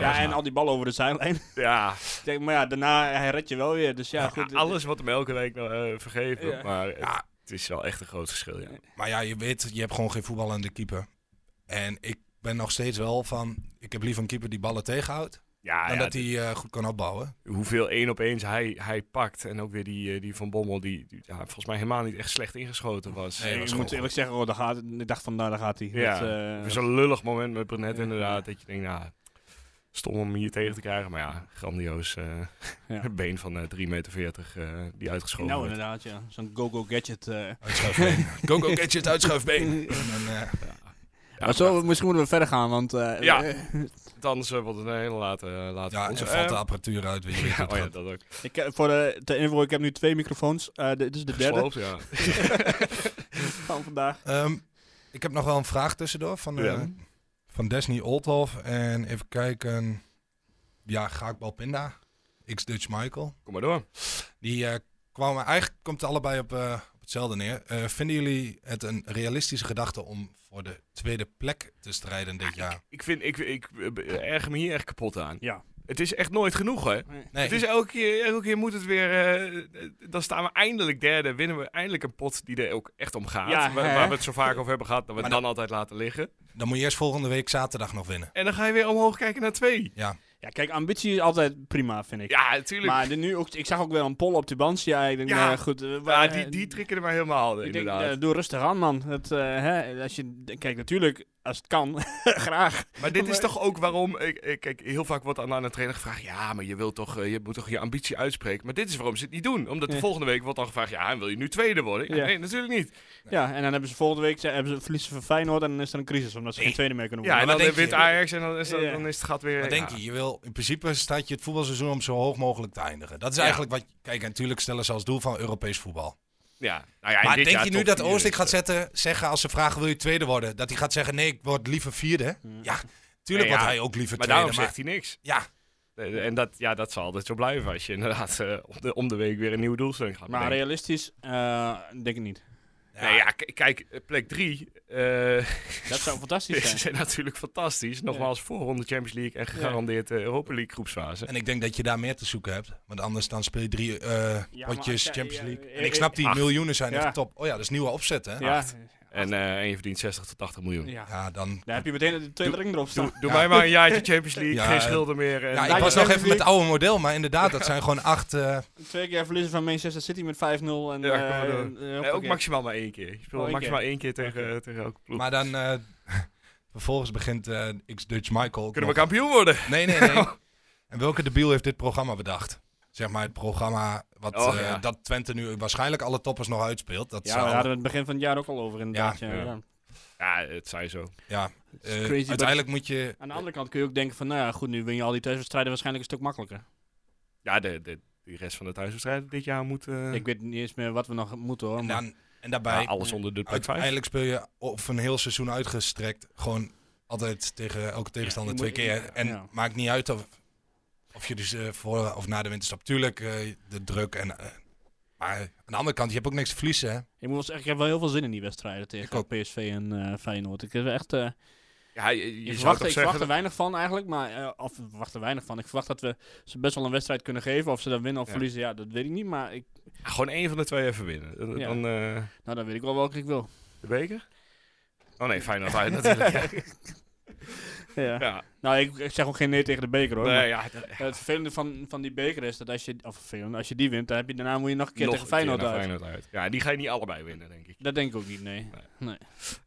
S1: Ja.
S5: Ja, en al die ballen over de zijlijn. *laughs*
S1: Ja,
S5: Ik denk, maar ja, daarna, hij redt je wel weer. Dus ja, goed.
S1: alles wat hem elke week nou, eh, vergeven.
S5: Ja.
S1: Maar het,
S4: Ja.
S1: het is wel echt een groot verschil. Ja.
S4: Maar ja, je weet, je hebt gewoon geen voetbal aan de keeper. En ik ben nog steeds wel van, ik heb liever een keeper die ballen tegenhoudt.
S1: Ja,
S4: dan
S1: Ah, ja,
S4: dat hij eh, goed kan opbouwen.
S1: hoeveel één op eens hij, hij pakt. En ook weer die, eh, die Van Bommel, die, die, ja, volgens mij helemaal niet echt slecht ingeschoten was.
S4: Nee,
S5: Ik
S4: was
S5: moet
S4: gewoon
S5: eerlijk zeggen, oh, daar gaat, ik dacht van, nou, daar gaat hij.
S1: Ja,
S5: Dat, eh,
S1: Zo'n lullig moment met Brunet
S5: Ja.
S1: inderdaad. Dat je denkt, nou, Stom om hem hier tegen te krijgen, maar ja, grandioos eh,
S5: Ja.
S1: *laughs* been van eh 3,40 meter eh, die uitgeschoven
S5: nou,
S1: werd.
S5: inderdaad, ja. Zo'n go-go gadget. eh.
S4: Uitschuifbeen. Go, go, gadget, uitschuifbeen. En, eh,
S1: Ja,
S5: maar zo, misschien moeten we verder gaan, want... eh,
S1: Ja.
S5: eh,
S1: prachtig. Anders eh, wordt het een hele late... eh, late
S4: ja, en
S1: ons.
S4: ze valt de
S1: Eh,
S4: apparatuur
S5: *laughs*
S4: uit. Weet
S1: *laughs*
S4: je,
S1: ja,
S4: ja,
S1: oh ja, dat ook.
S5: *laughs* ik, heb- voor de, ter info, ik heb nu twee microfoons. Eh, dit- dit is
S1: *laughs*
S5: de derde
S1: Gesloopt, ja.
S5: van vandaag.
S4: Ehm, ik heb nog wel een vraag tussendoor van, eh,
S1: Ja.
S4: van Desney Oldhoff. En even kijken. Ja, Gaakbal Pinda. X-Dutch Michael.
S1: Kom maar door.
S4: Die eh, kwamen, eigenlijk komt het allebei op, eh, op hetzelfde neer. Eh, vinden jullie het een realistische gedachte om voor de tweede plek te strijden dit jaar?
S1: Ik, vind, ik, ik eh, erger me hier echt kapot aan.
S5: Ja.
S1: Het is echt nooit genoeg, hè?
S4: Nee,
S1: Het is elke keer, elke keer moet het weer. eh, eh, dan staan we eindelijk derde. Winnen we eindelijk een pot die er ook echt om gaat.
S5: Ja,
S1: waar,
S5: hè?
S1: waar we het zo vaak over hebben gehad. Dat we het
S4: Maar
S1: dan altijd laten liggen.
S4: dan moet je eerst volgende week zaterdag nog winnen.
S1: En dan ga je weer omhoog kijken naar twee.
S4: Ja,
S5: Ja, kijk, ambitie is altijd prima, vind ik.
S1: Ja, natuurlijk. Maar,
S5: Maar de, nu ook, ik zag ook wel een poll op de Bansia. Ik denk,
S1: Ja.
S5: eh, goed. eh,
S1: ja,
S5: eh,
S1: die, die trikken mij helemaal.
S5: Ik denk,
S1: inderdaad.
S5: eh, doe rustig aan, man. Het, eh, hè, als je, kijk, natuurlijk, als het kan, *laughs* graag.
S1: maar dit is
S5: maar-
S1: toch ook waarom. Ik, ik- kijk, heel vaak wordt aan aan de trainer gevraagd. Ja, maar je, wilt toch, eh, je moet toch je ambitie uitspreken. Maar dit is waarom ze het niet doen. Omdat de
S5: Ja.
S1: volgende week wordt dan gevraagd. Ja, en wil je nu tweede worden? Ja,
S5: Ja.
S1: Nee, natuurlijk niet.
S5: Ja, en dan hebben ze volgende week ze- hebben ze verliezen van Feyenoord en dan is er een crisis, omdat ze geen tweede meer kunnen
S1: Ja, en
S5: worden.
S1: dan
S4: denk
S1: eh,
S4: je?
S1: wint Ajax en dan is,
S5: Ja.
S1: dan is het gaat weer.
S4: wat denk
S1: ja.
S4: je? je wil, in principe staat je het voetbalseizoen om zo hoog mogelijk te eindigen. Dat is
S1: Ja.
S4: eigenlijk wat... Kijk, en natuurlijk stellen ze als doel van Europees voetbal.
S1: Ja. Nou ja, en
S4: Maar
S1: dit
S4: denk
S1: jaar
S4: je nu
S1: top
S4: dat
S1: vier
S4: Oostik
S1: is,
S4: gaat
S1: eh,
S4: zetten, zeggen als ze vragen wil je tweede worden, dat hij gaat zeggen nee, ik word liever vierde? Ja, tuurlijk
S1: Hmm. Nee,
S4: wordt
S1: ja,
S4: hij ook liever
S1: Maar
S4: tweede.
S1: daarom
S4: maar-
S1: zegt hij niks.
S4: Ja,
S1: Eh, En dat, ja, dat zal altijd zo blijven als je inderdaad eh, om, de, om de week weer een nieuwe doelstelling gaat
S5: Maar
S1: bedenken.
S5: realistisch, eh, denk ik niet.
S1: nee, ja, k- kijk, eh, plek 3
S5: Dat
S1: *laughs*
S5: zou fantastisch
S1: is
S5: zijn.
S1: natuurlijk fantastisch. Nogmaals, voorronde Champions League en gegarandeerd eh, Europa League groepsfase.
S4: En ik denk dat je daar meer te zoeken hebt. Want anders dan speel je drie eh
S5: Ja,
S4: potjes
S5: maar-
S4: Champions
S5: ja,
S4: League.
S5: ja,
S4: en ik snap die
S1: Ach.
S4: miljoenen zijn
S5: Ja.
S4: echt top. Oh ja, dat is nieuwe opzet hè. Ja,
S5: Ja,
S1: acht. En, eh, en je verdient 60 tot 80 miljoen.
S5: ja.
S4: dan...
S5: Daar heb je meteen de tweede ring erop staan.
S1: Doe, doe
S4: Ja.
S1: mij maar een jaartje Champions League,
S4: Ja,
S1: geen
S4: eh,
S1: schulden meer. En,
S4: Ja,
S5: nou Ja,
S4: ik was
S5: ja.
S4: nog even met het oude model, maar inderdaad, dat
S5: *laughs*
S4: zijn gewoon acht... eh,
S5: Twee keer verliezen van Manchester City met 5-0. En,
S1: Ja,
S5: eh,
S1: kom maar door.
S5: en, eh,
S1: eh, ook
S5: hoppakee.
S1: maximaal maar één keer. Je speelt
S5: Oh, één
S1: maximaal één keer tegen, tegen elke ploeg.
S4: maar dan... eh, vervolgens begint eh, X-Dutch Michael... ook
S1: Kunnen we
S4: nog-
S1: kampioen worden?
S4: Nee, nee, nee. en welke debiel heeft dit programma bedacht? Zeg maar het programma wat,
S1: Oh,
S4: eh,
S1: ja.
S4: dat Twente nu waarschijnlijk alle toppers nog uitspeelt. Dat
S5: Ja,
S4: zou-
S5: daar hadden we het begin van het jaar ook al over inderdaad. Ja,
S1: Ja.
S5: ja.
S1: Ja, het zij zo.
S4: ja,
S5: is
S4: eh,
S5: crazy,
S4: uiteindelijk moet je...
S5: Aan de andere kant kun je ook denken van, nou ja, goed, nu win je al die thuiswedstrijden waarschijnlijk een stuk makkelijker.
S1: Ja, de, de, de rest van de thuiswedstrijden dit jaar moet... eh,
S5: Ik weet niet eens meer wat we nog moeten hoor.
S4: En,
S5: maar-
S4: dan, en daarbij...
S1: ja, alles onder de plek 5.
S4: Uiteindelijk speel je of een heel seizoen uitgestrekt gewoon altijd tegen elke tegenstander
S5: je
S4: twee
S5: moet-
S4: keer. En
S5: ja.
S4: maakt niet uit of, of je dus eh, voor of na de winterstop. Tuurlijk, eh, de druk. En, eh, maar aan de andere kant, je hebt ook niks te verliezen. Hè?
S5: Ik, moet wel zeggen, ik heb wel heel veel zin in die wedstrijden
S4: Ik
S5: tegen
S4: ook.
S5: PSV en eh, Feyenoord. Ik, heb echt, eh,
S1: Ja, je, je
S5: ik,
S1: zou
S5: verwacht,
S1: toch zeggen...
S5: ik verwacht er weinig van eigenlijk. Maar, eh, of ik verwacht er weinig van. Ik verwacht dat we ze best wel een wedstrijd kunnen geven. Of ze dan winnen of
S1: Ja.
S5: verliezen, ja, dat weet ik niet. Maar ik,
S1: Ja, Gewoon één van de twee even winnen. Dan,
S5: Ja.
S1: dan, eh,
S5: nou, dan weet ik wel welke ik wil. *laughs*
S1: de beker? Oh nee, Feyenoord uit natuurlijk. Ja.
S5: Ja.
S1: Ja.
S5: Nou, ik, ik zeg ook geen nee tegen de beker hoor. maar
S1: Nee, ja, dat-
S5: Het vervelende van, van die beker is dat als je, of vervelend, als je die wint, dan heb je daarna moet je nog een keer
S1: nog
S5: tegen Feyenoord
S1: naar
S5: uit.
S1: Feyenoord uit. Ja, die ga je niet allebei winnen, denk ik.
S5: Dat denk ik ook niet, nee.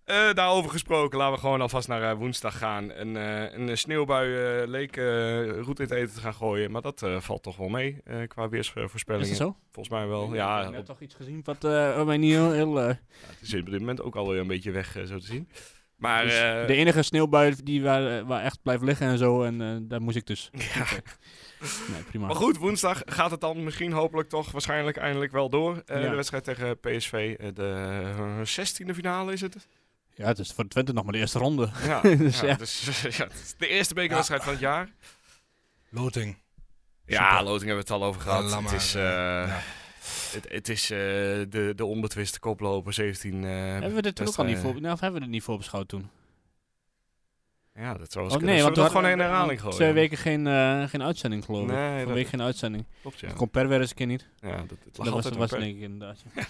S1: Eh, daarover gesproken, laten we gewoon alvast naar eh, woensdag gaan. Een, eh, een sneeuwbui eh, leek eh roet in het eten te gaan gooien, maar dat eh, valt toch wel mee eh, qua
S5: Is
S1: weersvoorspellingen.
S5: dat zo?
S1: Volgens mij wel. Ja,
S5: ik heb
S1: op-
S5: toch iets gezien wat eh mij niet heel... heel eh,
S1: het is op dit moment ook alweer een beetje weg, eh, zo te zien. Maar
S5: Dus
S1: eh,
S5: de enige sneeuwbui die waar, eh, waar echt blijft liggen en zo. En eh, daar moest ik dus.
S1: ja,
S5: Nee, prima.
S1: Maar goed, woensdag gaat het dan misschien hopelijk toch waarschijnlijk eindelijk wel door. Eh,
S5: Ja.
S1: De wedstrijd tegen PSV, eh, de zestiende finale is
S5: *laughs*
S1: het?
S5: Ja, het is voor Twente nog maar de eerste ronde.
S1: Ja,
S5: Dus
S1: ja,
S5: ja.
S1: dus, *laughs* ja, het is de eerste bekerwedstrijd van het jaar.
S4: Loting.
S1: Ja, Loting hebben we het al over
S4: Ja,
S1: gehad.
S4: laat
S1: het,
S4: maar,
S1: is, eh,
S4: ja.
S1: het, het is eh, de, de onbetwiste koploper, 17. eh,
S5: hebben we dit toen ook al niet
S1: wedstrijden.
S5: voor, nou, of hebben we er niet voor beschouwd toen?
S1: Ja, dat zou
S5: Oh,
S1: eens kunnen. Zullen we dat
S5: hadden
S1: gewoon in
S5: we-
S1: herhaling gooien?
S5: Twee weken geen, eh, geen uitzending geloof ik.
S1: Nee,
S5: Van
S1: dat-
S5: week geen uitzending.
S1: Klopt, ja.
S5: Ik Kon per weer eens een keer niet.
S1: ja dat, het lag
S5: Dat was,
S1: altijd
S5: was
S1: aan
S5: denk ik inderdaad. ja.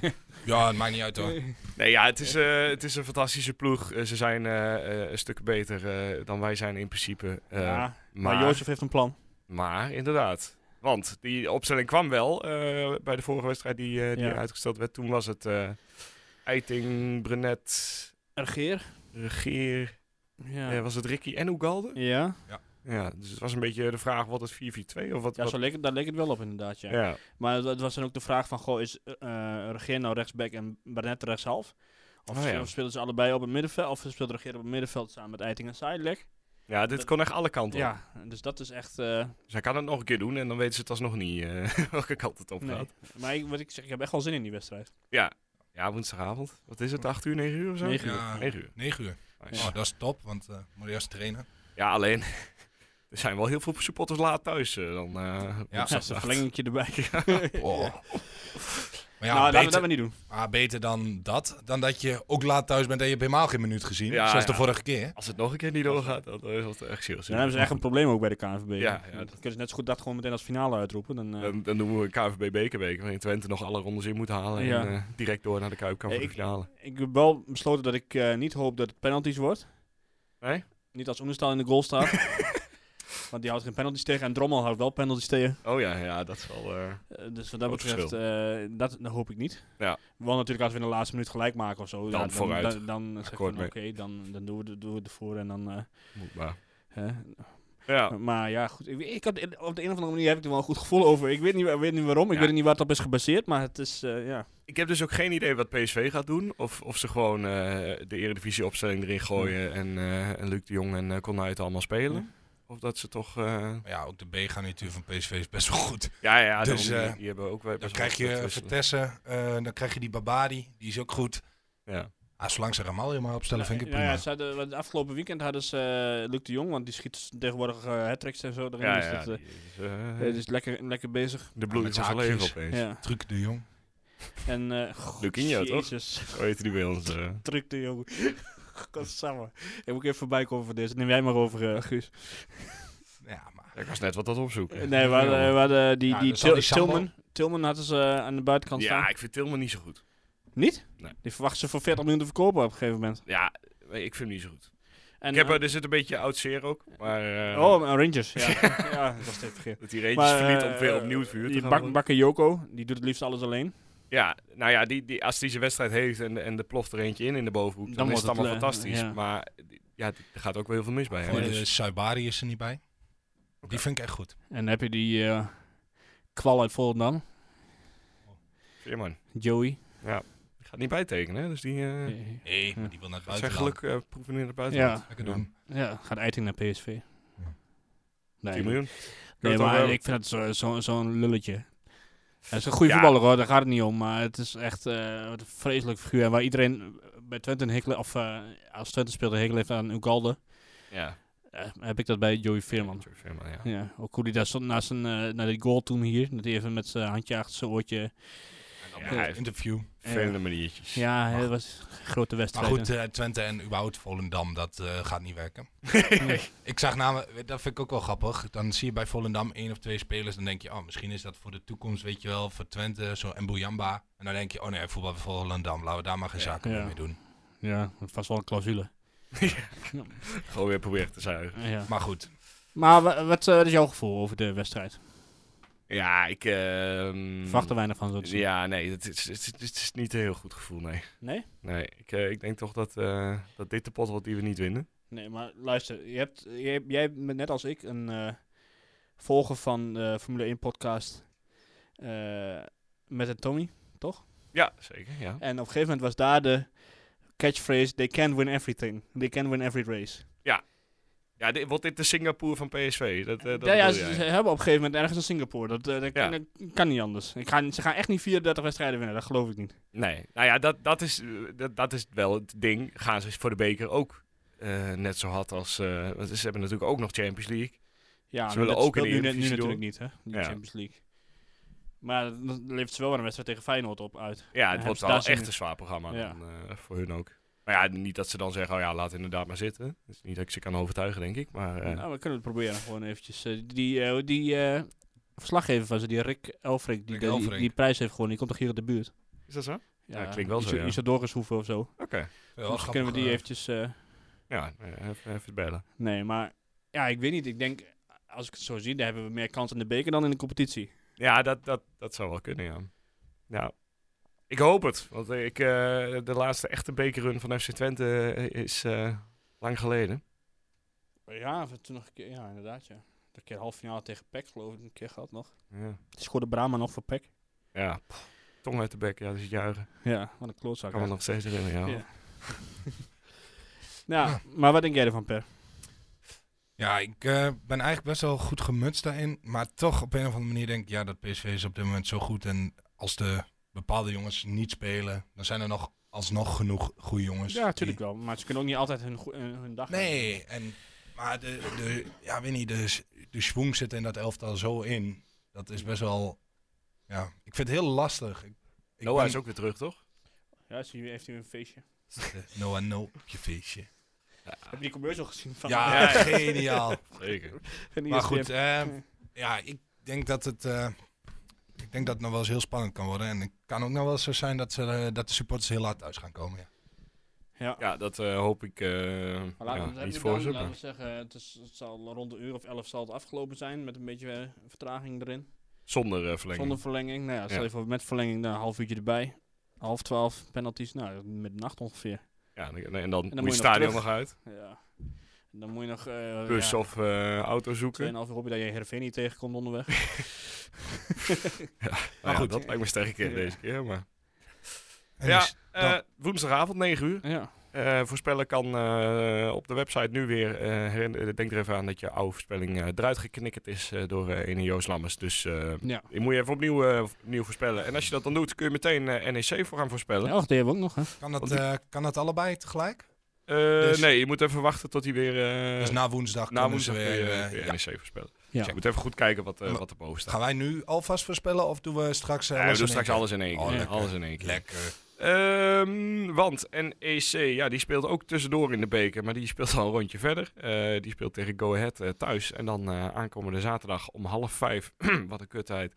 S5: Nee.
S4: Ja, het maakt niet uit hoor.
S1: Nee, ja, het is, eh, het is een fantastische ploeg. Eh, ze zijn eh, eh, een stuk beter eh, dan wij zijn in principe. *laughs* Eh,
S5: Ja,
S1: maar,
S5: maar Jozef heeft een plan.
S1: maar inderdaad. Want die opstelling kwam wel eh, bij de vorige wedstrijd die, eh, die
S5: Ja.
S1: uitgesteld werd. Toen was het eh Eiting, Brenet,
S5: Regeer.
S1: Regeer.
S5: Ja.
S1: eh, was het Ricky en Ugalde?
S5: Ja.
S1: Ja, dus het was een beetje de vraag, wat het 4-4-2 of wat...
S5: Ja,
S1: wat-
S5: zo leek het, daar leek het wel op inderdaad, ja.
S1: ja.
S5: Maar het, het was dan ook de vraag van, goh, is eh Regeer nou rechtsback en Barnett rechtshalf? Of,
S1: Oh ja.
S5: of spelen ze allebei op het middenveld? Of speelt Regeer op het middenveld samen met Eiting en Seidelijk?
S1: ja, dit kon echt alle kanten op.
S5: Ja, dus dat is echt... eh,
S1: Dus hij kan het nog een keer doen en dan weten ze het alsnog niet eh, *laughs* welke kant het op
S5: nee.
S1: gaat.
S5: Maar ik, wat ik zeg, ik heb echt wel zin in die wedstrijd.
S1: Ja, woensdagavond. Wat is het, 8 uur, 9 uur of zo?
S5: Negen
S4: uur.
S1: 9 uur.
S4: 9 uur.
S1: Nice.
S4: Oh, dat is top, want eh moet je eerst trainen.
S1: Ja, alleen, *laughs* er zijn wel heel veel supporters laat thuis eh, dan eh,
S4: Ja.
S5: *laughs* Ja, is een verlengingetje erbij.
S4: Oh. Maar ja,
S5: nou, laten we dat
S4: beter,
S5: maar niet doen.
S4: maar beter dan dat, dan dat je ook laat thuis bent en je hebt helemaal geen minuut gezien.
S1: Ja,
S4: zoals
S1: ja.
S4: de vorige keer.
S1: Als het nog een keer niet doorgaat, dan eh, is het echt serieus.
S5: Dan hebben ze echt een probleem ook bij de KNVB.
S1: Ja, ja,
S5: Dan
S1: dat-
S5: kunnen ze net zo goed dat gewoon meteen als finale uitroepen. Dan, eh,
S1: Dan, dan doen we een KVB bekerweek, waarin Twente nog alle rondes in moet halen
S5: Ja.
S1: en eh, direct door naar de Kuipkamp voor
S5: Ik-
S1: de finale.
S5: Ik heb wel besloten dat ik eh, niet hoop dat het penalties wordt.
S1: Nee?
S5: Niet als Oenestal in de
S1: *laughs*
S5: goal staat. Want die houdt geen penalties tegen. En Drommel houdt wel penalties tegen.
S1: Oh ja, ja, dat is wel... eh,
S5: Eh, dus wat dat
S1: Groot
S5: betreft, eh, dat, dat hoop ik niet.
S1: Ja.
S5: Wel natuurlijk als we in de laatste minuut gelijk maken of zo.
S1: Dan vooruit.
S5: Dan, dan zeg ik van
S1: Akkoord
S5: oké,
S1: mee.
S5: dan, dan doen, we, de- doen we het ervoor. En dan, eh,
S1: moet maar.
S5: hè.
S1: Ja,
S5: Maar ja, goed. Ik, ik had, op de een of andere manier heb ik er wel een goed gevoel over. Ik weet niet, wa- weet niet waarom. Ik
S1: Ja.
S5: weet niet waar het op is gebaseerd. Maar het is, eh, ja.
S1: ik heb dus ook geen idee wat PSV gaat doen. Of, of ze gewoon eh, de eredivisieopstelling erin gooien en, eh, en Luc de Jong en uh, Konuit allemaal spelen. Of dat ze toch... eh,
S4: Maar ja, ook de B-garnituur van PSV is best wel goed.
S1: ja, ja,
S4: Dus,
S1: daarom,
S4: eh,
S1: die hebben ook...
S4: Dan krijg je Vertessen, eh, dan krijg je die Babadi, die is ook goed.
S1: Ja.
S4: Ah, zolang ze Ramalje maar opstellen, vind ik het
S5: Nou
S4: prima.
S5: ja, ze hadden- want afgelopen weekend hadden ze eh, Luc de Jong, want die schiet tegenwoordig eh hat-tricks en zo erin.
S1: Ja,
S5: dus
S1: ja,
S5: dat, eh,
S1: die is, eh,
S5: eh, dus lekker, lekker bezig.
S1: de bloei
S4: met
S1: van
S4: zijn
S1: zijn leven
S4: haakjes.
S1: opeens.
S5: Ja.
S4: Truc de Jong.
S5: En, eh god,
S1: Lucinho, toch?
S5: Jezus, *laughs*
S1: Hoe heet die bij ons? eh?
S5: druk de Jong. *laughs* Godsamme. Ik moet even voorbij komen voor deze. Neem jij maar over, eh, Guus.
S4: Ja, maar...
S1: Ja, ik was net wat aan het opzoeken.
S5: Eh, Nee, we hadden, we hadden die,
S4: Ja,
S5: die,
S4: dus
S5: Til-
S4: al die Sambo.
S5: Tilman. Tilman hadden ze eh, aan de buitenkant
S1: Ja,
S5: staan.
S1: ik vind Tilman niet zo goed.
S5: Niet?
S1: Nee.
S5: Die verwachten ze voor 40 miljoen te verkopen op een gegeven moment.
S1: Ja, nee, ik vind hem niet zo goed.
S5: En,
S1: ik heb,
S5: eh,
S1: er- er zit een beetje oud zeer ook, maar eh,
S5: oh, eh,
S1: *laughs*
S5: Rangers. Ja, ja dat was even vergeten.
S1: dat hij reentjes
S5: Maar,
S1: verliet
S5: eh,
S1: om weer opnieuw het vuur te
S5: Die
S1: gaan
S5: Bak-
S1: worden.
S5: Bakker Joko, die doet het liefst alles alleen.
S1: Ja, nou ja, die, die, als hij zijn wedstrijd heeft en, en er ploft er eentje in in de bovenhoek, dan,
S5: Dan
S1: is
S5: wordt
S1: het allemaal
S5: het, eh,
S1: fantastisch.
S5: ja.
S1: Maar die- ja, die- er gaat ook wel heel veel mis bij hem.
S4: Voor
S1: Dus-
S4: de Saibari is er niet bij. Die vind ik echt goed.
S5: En dan heb je die eh, kwal uit Volendam,
S1: Veerman,
S5: Joey.
S1: die gaat niet bijtekenen, hè, dus die... eh,
S4: Nee,
S5: maar
S4: die wil naar het
S1: dat zijn geluk eh, proeven in het buitenland.
S5: Ja,
S4: Lekker doen.
S5: ja, gaat Eiting naar PSV.
S4: Ja.
S5: Nee,
S1: 10 miljoen.
S5: nee
S1: Kunnen we het
S5: maar
S1: over
S5: ik vind dat zo'n zo, zo'n lulletje. Hij is een goede
S1: Ja.
S5: voetballer hoor, daar gaat het niet om. Maar het is echt eh, wat een vreselijk figuur. En waar iedereen eh, bij Twente een hekel, of eh, als Twente speelde hekel heeft aan Ugalde,
S1: hebben? Ja,
S5: eh, heb ik dat bij Joey Veerman.
S1: George Veerman, ja.
S5: Ja, ook hoe die daar stond naast, een, eh naar die goal toen hier. Dat hij even met zijn handje achter zijn oortje.
S1: Ja,
S4: Ja,
S1: hij heeft
S4: interview.
S1: Vele maniertjes.
S5: Ja, het was een grote
S4: Maar
S5: wedstrijd.
S4: goed, eh, Twente en überhaupt Volendam, dat eh, gaat niet
S5: *laughs*
S4: werken. Ik zag namelijk, dat vind ik ook wel grappig. Dan zie je bij Volendam één of twee spelers. Dan denk je, oh, misschien is dat voor de toekomst, weet je wel, voor Twente, zo Mbuyamba. En dan denk je, oh nee, voetbal voor Volendam, laten we daar maar geen
S1: Ja.
S4: zaken
S5: Ja.
S4: mee doen.
S5: Ja, vast wel een clausule.
S1: Gewoon weer proberen te zuigen.
S5: Ja.
S4: Maar goed,
S5: Maar wa- wat eh, is jouw gevoel over de wedstrijd?
S1: Ja, ik... ehm,
S5: Verwacht er weinig van zo te zien.
S1: Ja, nee, het is, het, is, het is niet een heel goed gevoel, nee.
S5: Nee?
S1: Nee, ik, eh, ik denk toch dat, eh, dat dit de pot wordt die we niet winnen.
S5: Nee, maar luister. Je hebt, je hebt- jij bent net als ik een eh, volger van de Formule 1 podcast eh, met een Tommy.
S1: Ja, zeker, ja.
S5: En op een gegeven moment was daar de catchphrase, they can win everything. They can win every race.
S1: Ja, dit, wordt dit de Singapore van PSV? Dat, eh, dat
S5: ja, ja
S1: bedoel
S5: ze,
S1: jij.
S5: ze hebben op een gegeven moment ergens in Singapore. Dat, eh, dat,
S1: Ja.
S5: dat kan niet anders. Ik ga, ze gaan echt niet 34 wedstrijden winnen, dat geloof ik niet.
S1: Nee, nou ja, dat, dat, is, eh, dat, dat is wel het ding. Gaan ze voor de beker ook eh, net zo hard als... eh, want ze hebben natuurlijk ook nog Champions League.
S5: Ja,
S1: Ze
S5: maar
S1: willen
S5: dat
S1: ook in
S5: speelt
S1: de
S5: nu, net- nu
S1: Eredivisie
S5: natuurlijk niet, hè? Die
S1: Ja.
S5: Champions League. Maar dat- dat levert ze wel weer een wedstrijd tegen Feyenoord op uit.
S1: Ja, het
S5: hebben
S1: wordt
S5: ze
S1: wel
S5: daar
S1: echt
S5: zin in?
S1: een zwaar programma
S5: Ja.
S1: dan, eh, voor hun ook. Maar ja, niet dat ze dan zeggen, oh ja, laat inderdaad maar zitten. Het is niet dat ik ze kan overtuigen, denk ik. Maar eh,
S5: Nou, we kunnen het proberen gewoon eventjes. Eh, die eh, die eh, verslaggever van ze, die Rick Elfrink, die,
S4: Rick
S5: die- die-
S4: Elfrink.
S5: die prijs heeft gewonnen, die komt toch hier uit de buurt?
S1: is dat zo? Ja, klinkt wel
S5: iets-
S1: zo, ja.
S5: iets uit Dorishoeven of zo.
S1: Oké.
S4: wel
S5: Misschien
S4: grappig,
S5: kunnen we die
S4: eh,
S5: eventjes... eh,
S1: Ja, eh, even, even bellen.
S5: nee, maar... Ja, ik weet niet. Ik denk, als ik het zo zie, dan hebben we meer kans in de beker dan in de competitie.
S1: Ja, dat, dat, dat zou wel kunnen, ja. Ja. Ik hoop het, want ik, eh, de laatste echte bekerrun van FC Twente eh, is eh, lang geleden.
S5: Ja, of toen nog een keer. Ja, inderdaad, ja. Een keer half finale tegen PEC, geloof ik, een keer gehad nog.
S1: Ja,
S5: Schoorde Brahma nog voor PEC.
S1: ja. pff, tong uit de bek, ja, dat is het juichen.
S5: Ja, wat een klootzak.
S1: Kan me nog steeds herinneren, ja.
S5: Ja. Ja, maar wat denk jij ervan, Per?
S4: Ja, ik eh, ben eigenlijk best wel goed gemutst daarin. Maar toch op een of andere manier denk ik, ja, dat PSV is op dit moment zo goed. En als de bepaalde jongens niet spelen, dan zijn er nog alsnog genoeg goede jongens.
S5: Ja, natuurlijk wel. Maar ze kunnen ook niet altijd hun, goe- eh, hun dag
S4: die- Nee, en, maar de, de, ja, weet niet, de, s- de schwung zit in dat elftal zo in. Dat is best wel, ja, ik vind het heel lastig. Ik, ik
S1: Noah
S4: ben-
S1: is ook weer terug, toch?
S5: Ja, dus hier heeft hij een feestje.
S4: *laughs* Noah, no, op je feestje.
S5: Heb je die commercial gezien van
S4: Ja, *laughs* geniaal.
S1: Zeker.
S5: *laughs* van
S4: Maar
S5: ESPN?
S4: goed, eh, ja, ik denk dat het. eh, ik denk dat het nog wel eens heel spannend kan worden. En het kan ook nog wel eens zo zijn dat, ze, eh, dat de supporters heel laat thuis gaan komen. Ja.
S5: Ja.
S1: Ja, dat eh, hoop ik eh,
S5: Maar laten,
S1: ja,
S5: we,
S1: niet
S5: dan-
S1: voor ze.
S5: laten
S1: maar
S5: we zeggen, het, is, het zal rond de uur of elf zal het afgelopen zijn. Met een beetje eh, vertraging erin.
S1: Zonder eh verlenging.
S5: Zonder verlenging. Nou ja, stel
S1: Ja.
S5: je voor met verlenging nou, een half uurtje erbij. Half twaalf penalties. Nou, middernacht ongeveer.
S1: Ja, en dan, en dan moet
S5: nog
S1: je het stadion
S5: terug.
S1: nog uit.
S5: Ja. En Dan moet je nog... eh
S1: Bus
S5: ja,
S1: of eh, auto zoeken.
S5: Tweeënhalf uur op je dat je Hervé niet tegenkomt
S1: *laughs*
S5: onderweg.
S1: maar
S4: ja,
S1: Nou goed,
S4: dat
S1: dat lijkt me sterke keer
S5: Ja.
S1: deze keer. Maar.
S4: En
S1: ja,
S4: dus dan-
S1: eh, woensdagavond, 9 uur.
S5: ja.
S1: Eh, voorspellen kan eh, op de website nu weer. eh, herinner- denk er even aan dat je oude voorspelling eh, eruit geknikkerd is eh, door eh ene Joost Lammers. Dus eh,
S5: Ja.
S1: je moet je even opnieuw, eh, opnieuw voorspellen. En als je dat dan doet, kun je meteen eh, NEC voor gaan voorspellen.
S5: Ja, och, die hebben we ook nog, hè.
S4: kan, dat,
S1: want die-
S4: eh, kan dat allebei tegelijk?
S1: Eh,
S4: Dus-
S1: Nee, je moet even wachten tot hij weer... eh,
S4: dus na woensdag
S1: na
S4: kunnen
S1: woensdag
S4: ze
S1: kun
S4: weer.
S1: je,
S4: eh,
S1: weer
S4: ja.
S1: NEC voorspellen.
S5: Ja.
S1: Dus je moet even goed kijken wat, eh,
S4: Maar-
S1: wat er boven staat.
S4: Gaan wij nu alvast voorspellen of doen we straks.
S1: Ja,
S4: eh,
S1: we
S4: alles
S1: doen
S4: in
S1: straks
S4: één
S1: alles in één
S4: Oh,
S1: keer.
S4: lekker.
S1: alles in één
S4: keer?
S1: keer.
S4: Lekker.
S1: eh, Ehm, want NEC, ja, die speelt ook tussendoor in de beker, maar die speelt al een rondje verder. Eh, die speelt tegen Go Ahead eh, thuis. En dan eh, aankomende zaterdag om half vijf, *clears throat* wat een kutheid,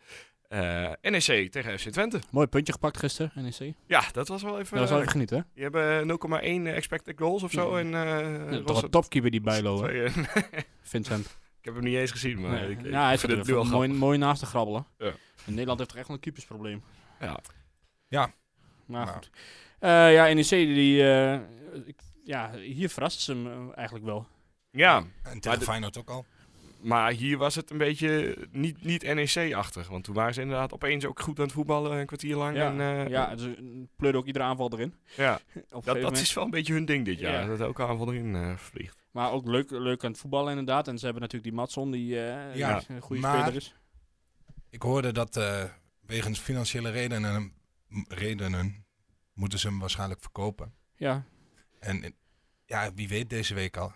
S1: eh, NEC tegen FC Twente.
S5: Mooi puntje gepakt gisteren, NEC. Dat
S1: Ja, dat was wel even...
S5: was wel
S1: eh,
S5: even genieten, hè.
S1: die hebben 0,1 expected goals of zo.
S5: Ja.
S1: En, eh,
S5: Ja, toch
S1: Rosso-
S5: een topkeeper die bijlo, hè.
S1: twee, eh, *laughs*
S5: Vincent.
S1: ik heb hem niet eens gezien, maar
S5: Nee.
S1: ik, ik
S5: Ja, hij
S1: vind
S5: zit er
S1: het nu al
S5: even mooi, mooi naast te grabbelen.
S1: Ja.
S5: En Nederland heeft toch echt wel een keepersprobleem.
S1: Ja.
S4: Ja.
S5: Maar
S4: Nou.
S5: goed. Eh, ja, NEC, die... eh, ik, ja, hier verrast ze hem eh, eigenlijk wel.
S1: Ja,
S4: En
S1: Maar
S4: tegen
S1: de-
S4: Feyenoord ook al.
S1: maar hier was het een beetje niet, niet NEC-achtig. Want toen waren ze inderdaad opeens ook goed aan het voetballen een kwartier lang.
S5: Ja,
S1: en, eh,
S5: ja, dus eh, pleurde ook iedere aanval erin.
S1: ja.
S5: Op een gegeven
S1: Dat, dat
S5: moment.
S1: is wel een beetje hun ding dit jaar.
S5: Ja.
S1: Dat elke aanval erin eh, vliegt.
S5: Maar ook leuk, leuk aan het voetballen inderdaad. En ze hebben natuurlijk die Matson, die eh,
S4: Ja,
S5: een goede
S4: maar-
S5: speler is.
S4: Ik hoorde dat eh, wegens financiële redenen, m- redenen moeten ze hem waarschijnlijk verkopen.
S5: Ja.
S4: En eh, ja, wie weet deze week al.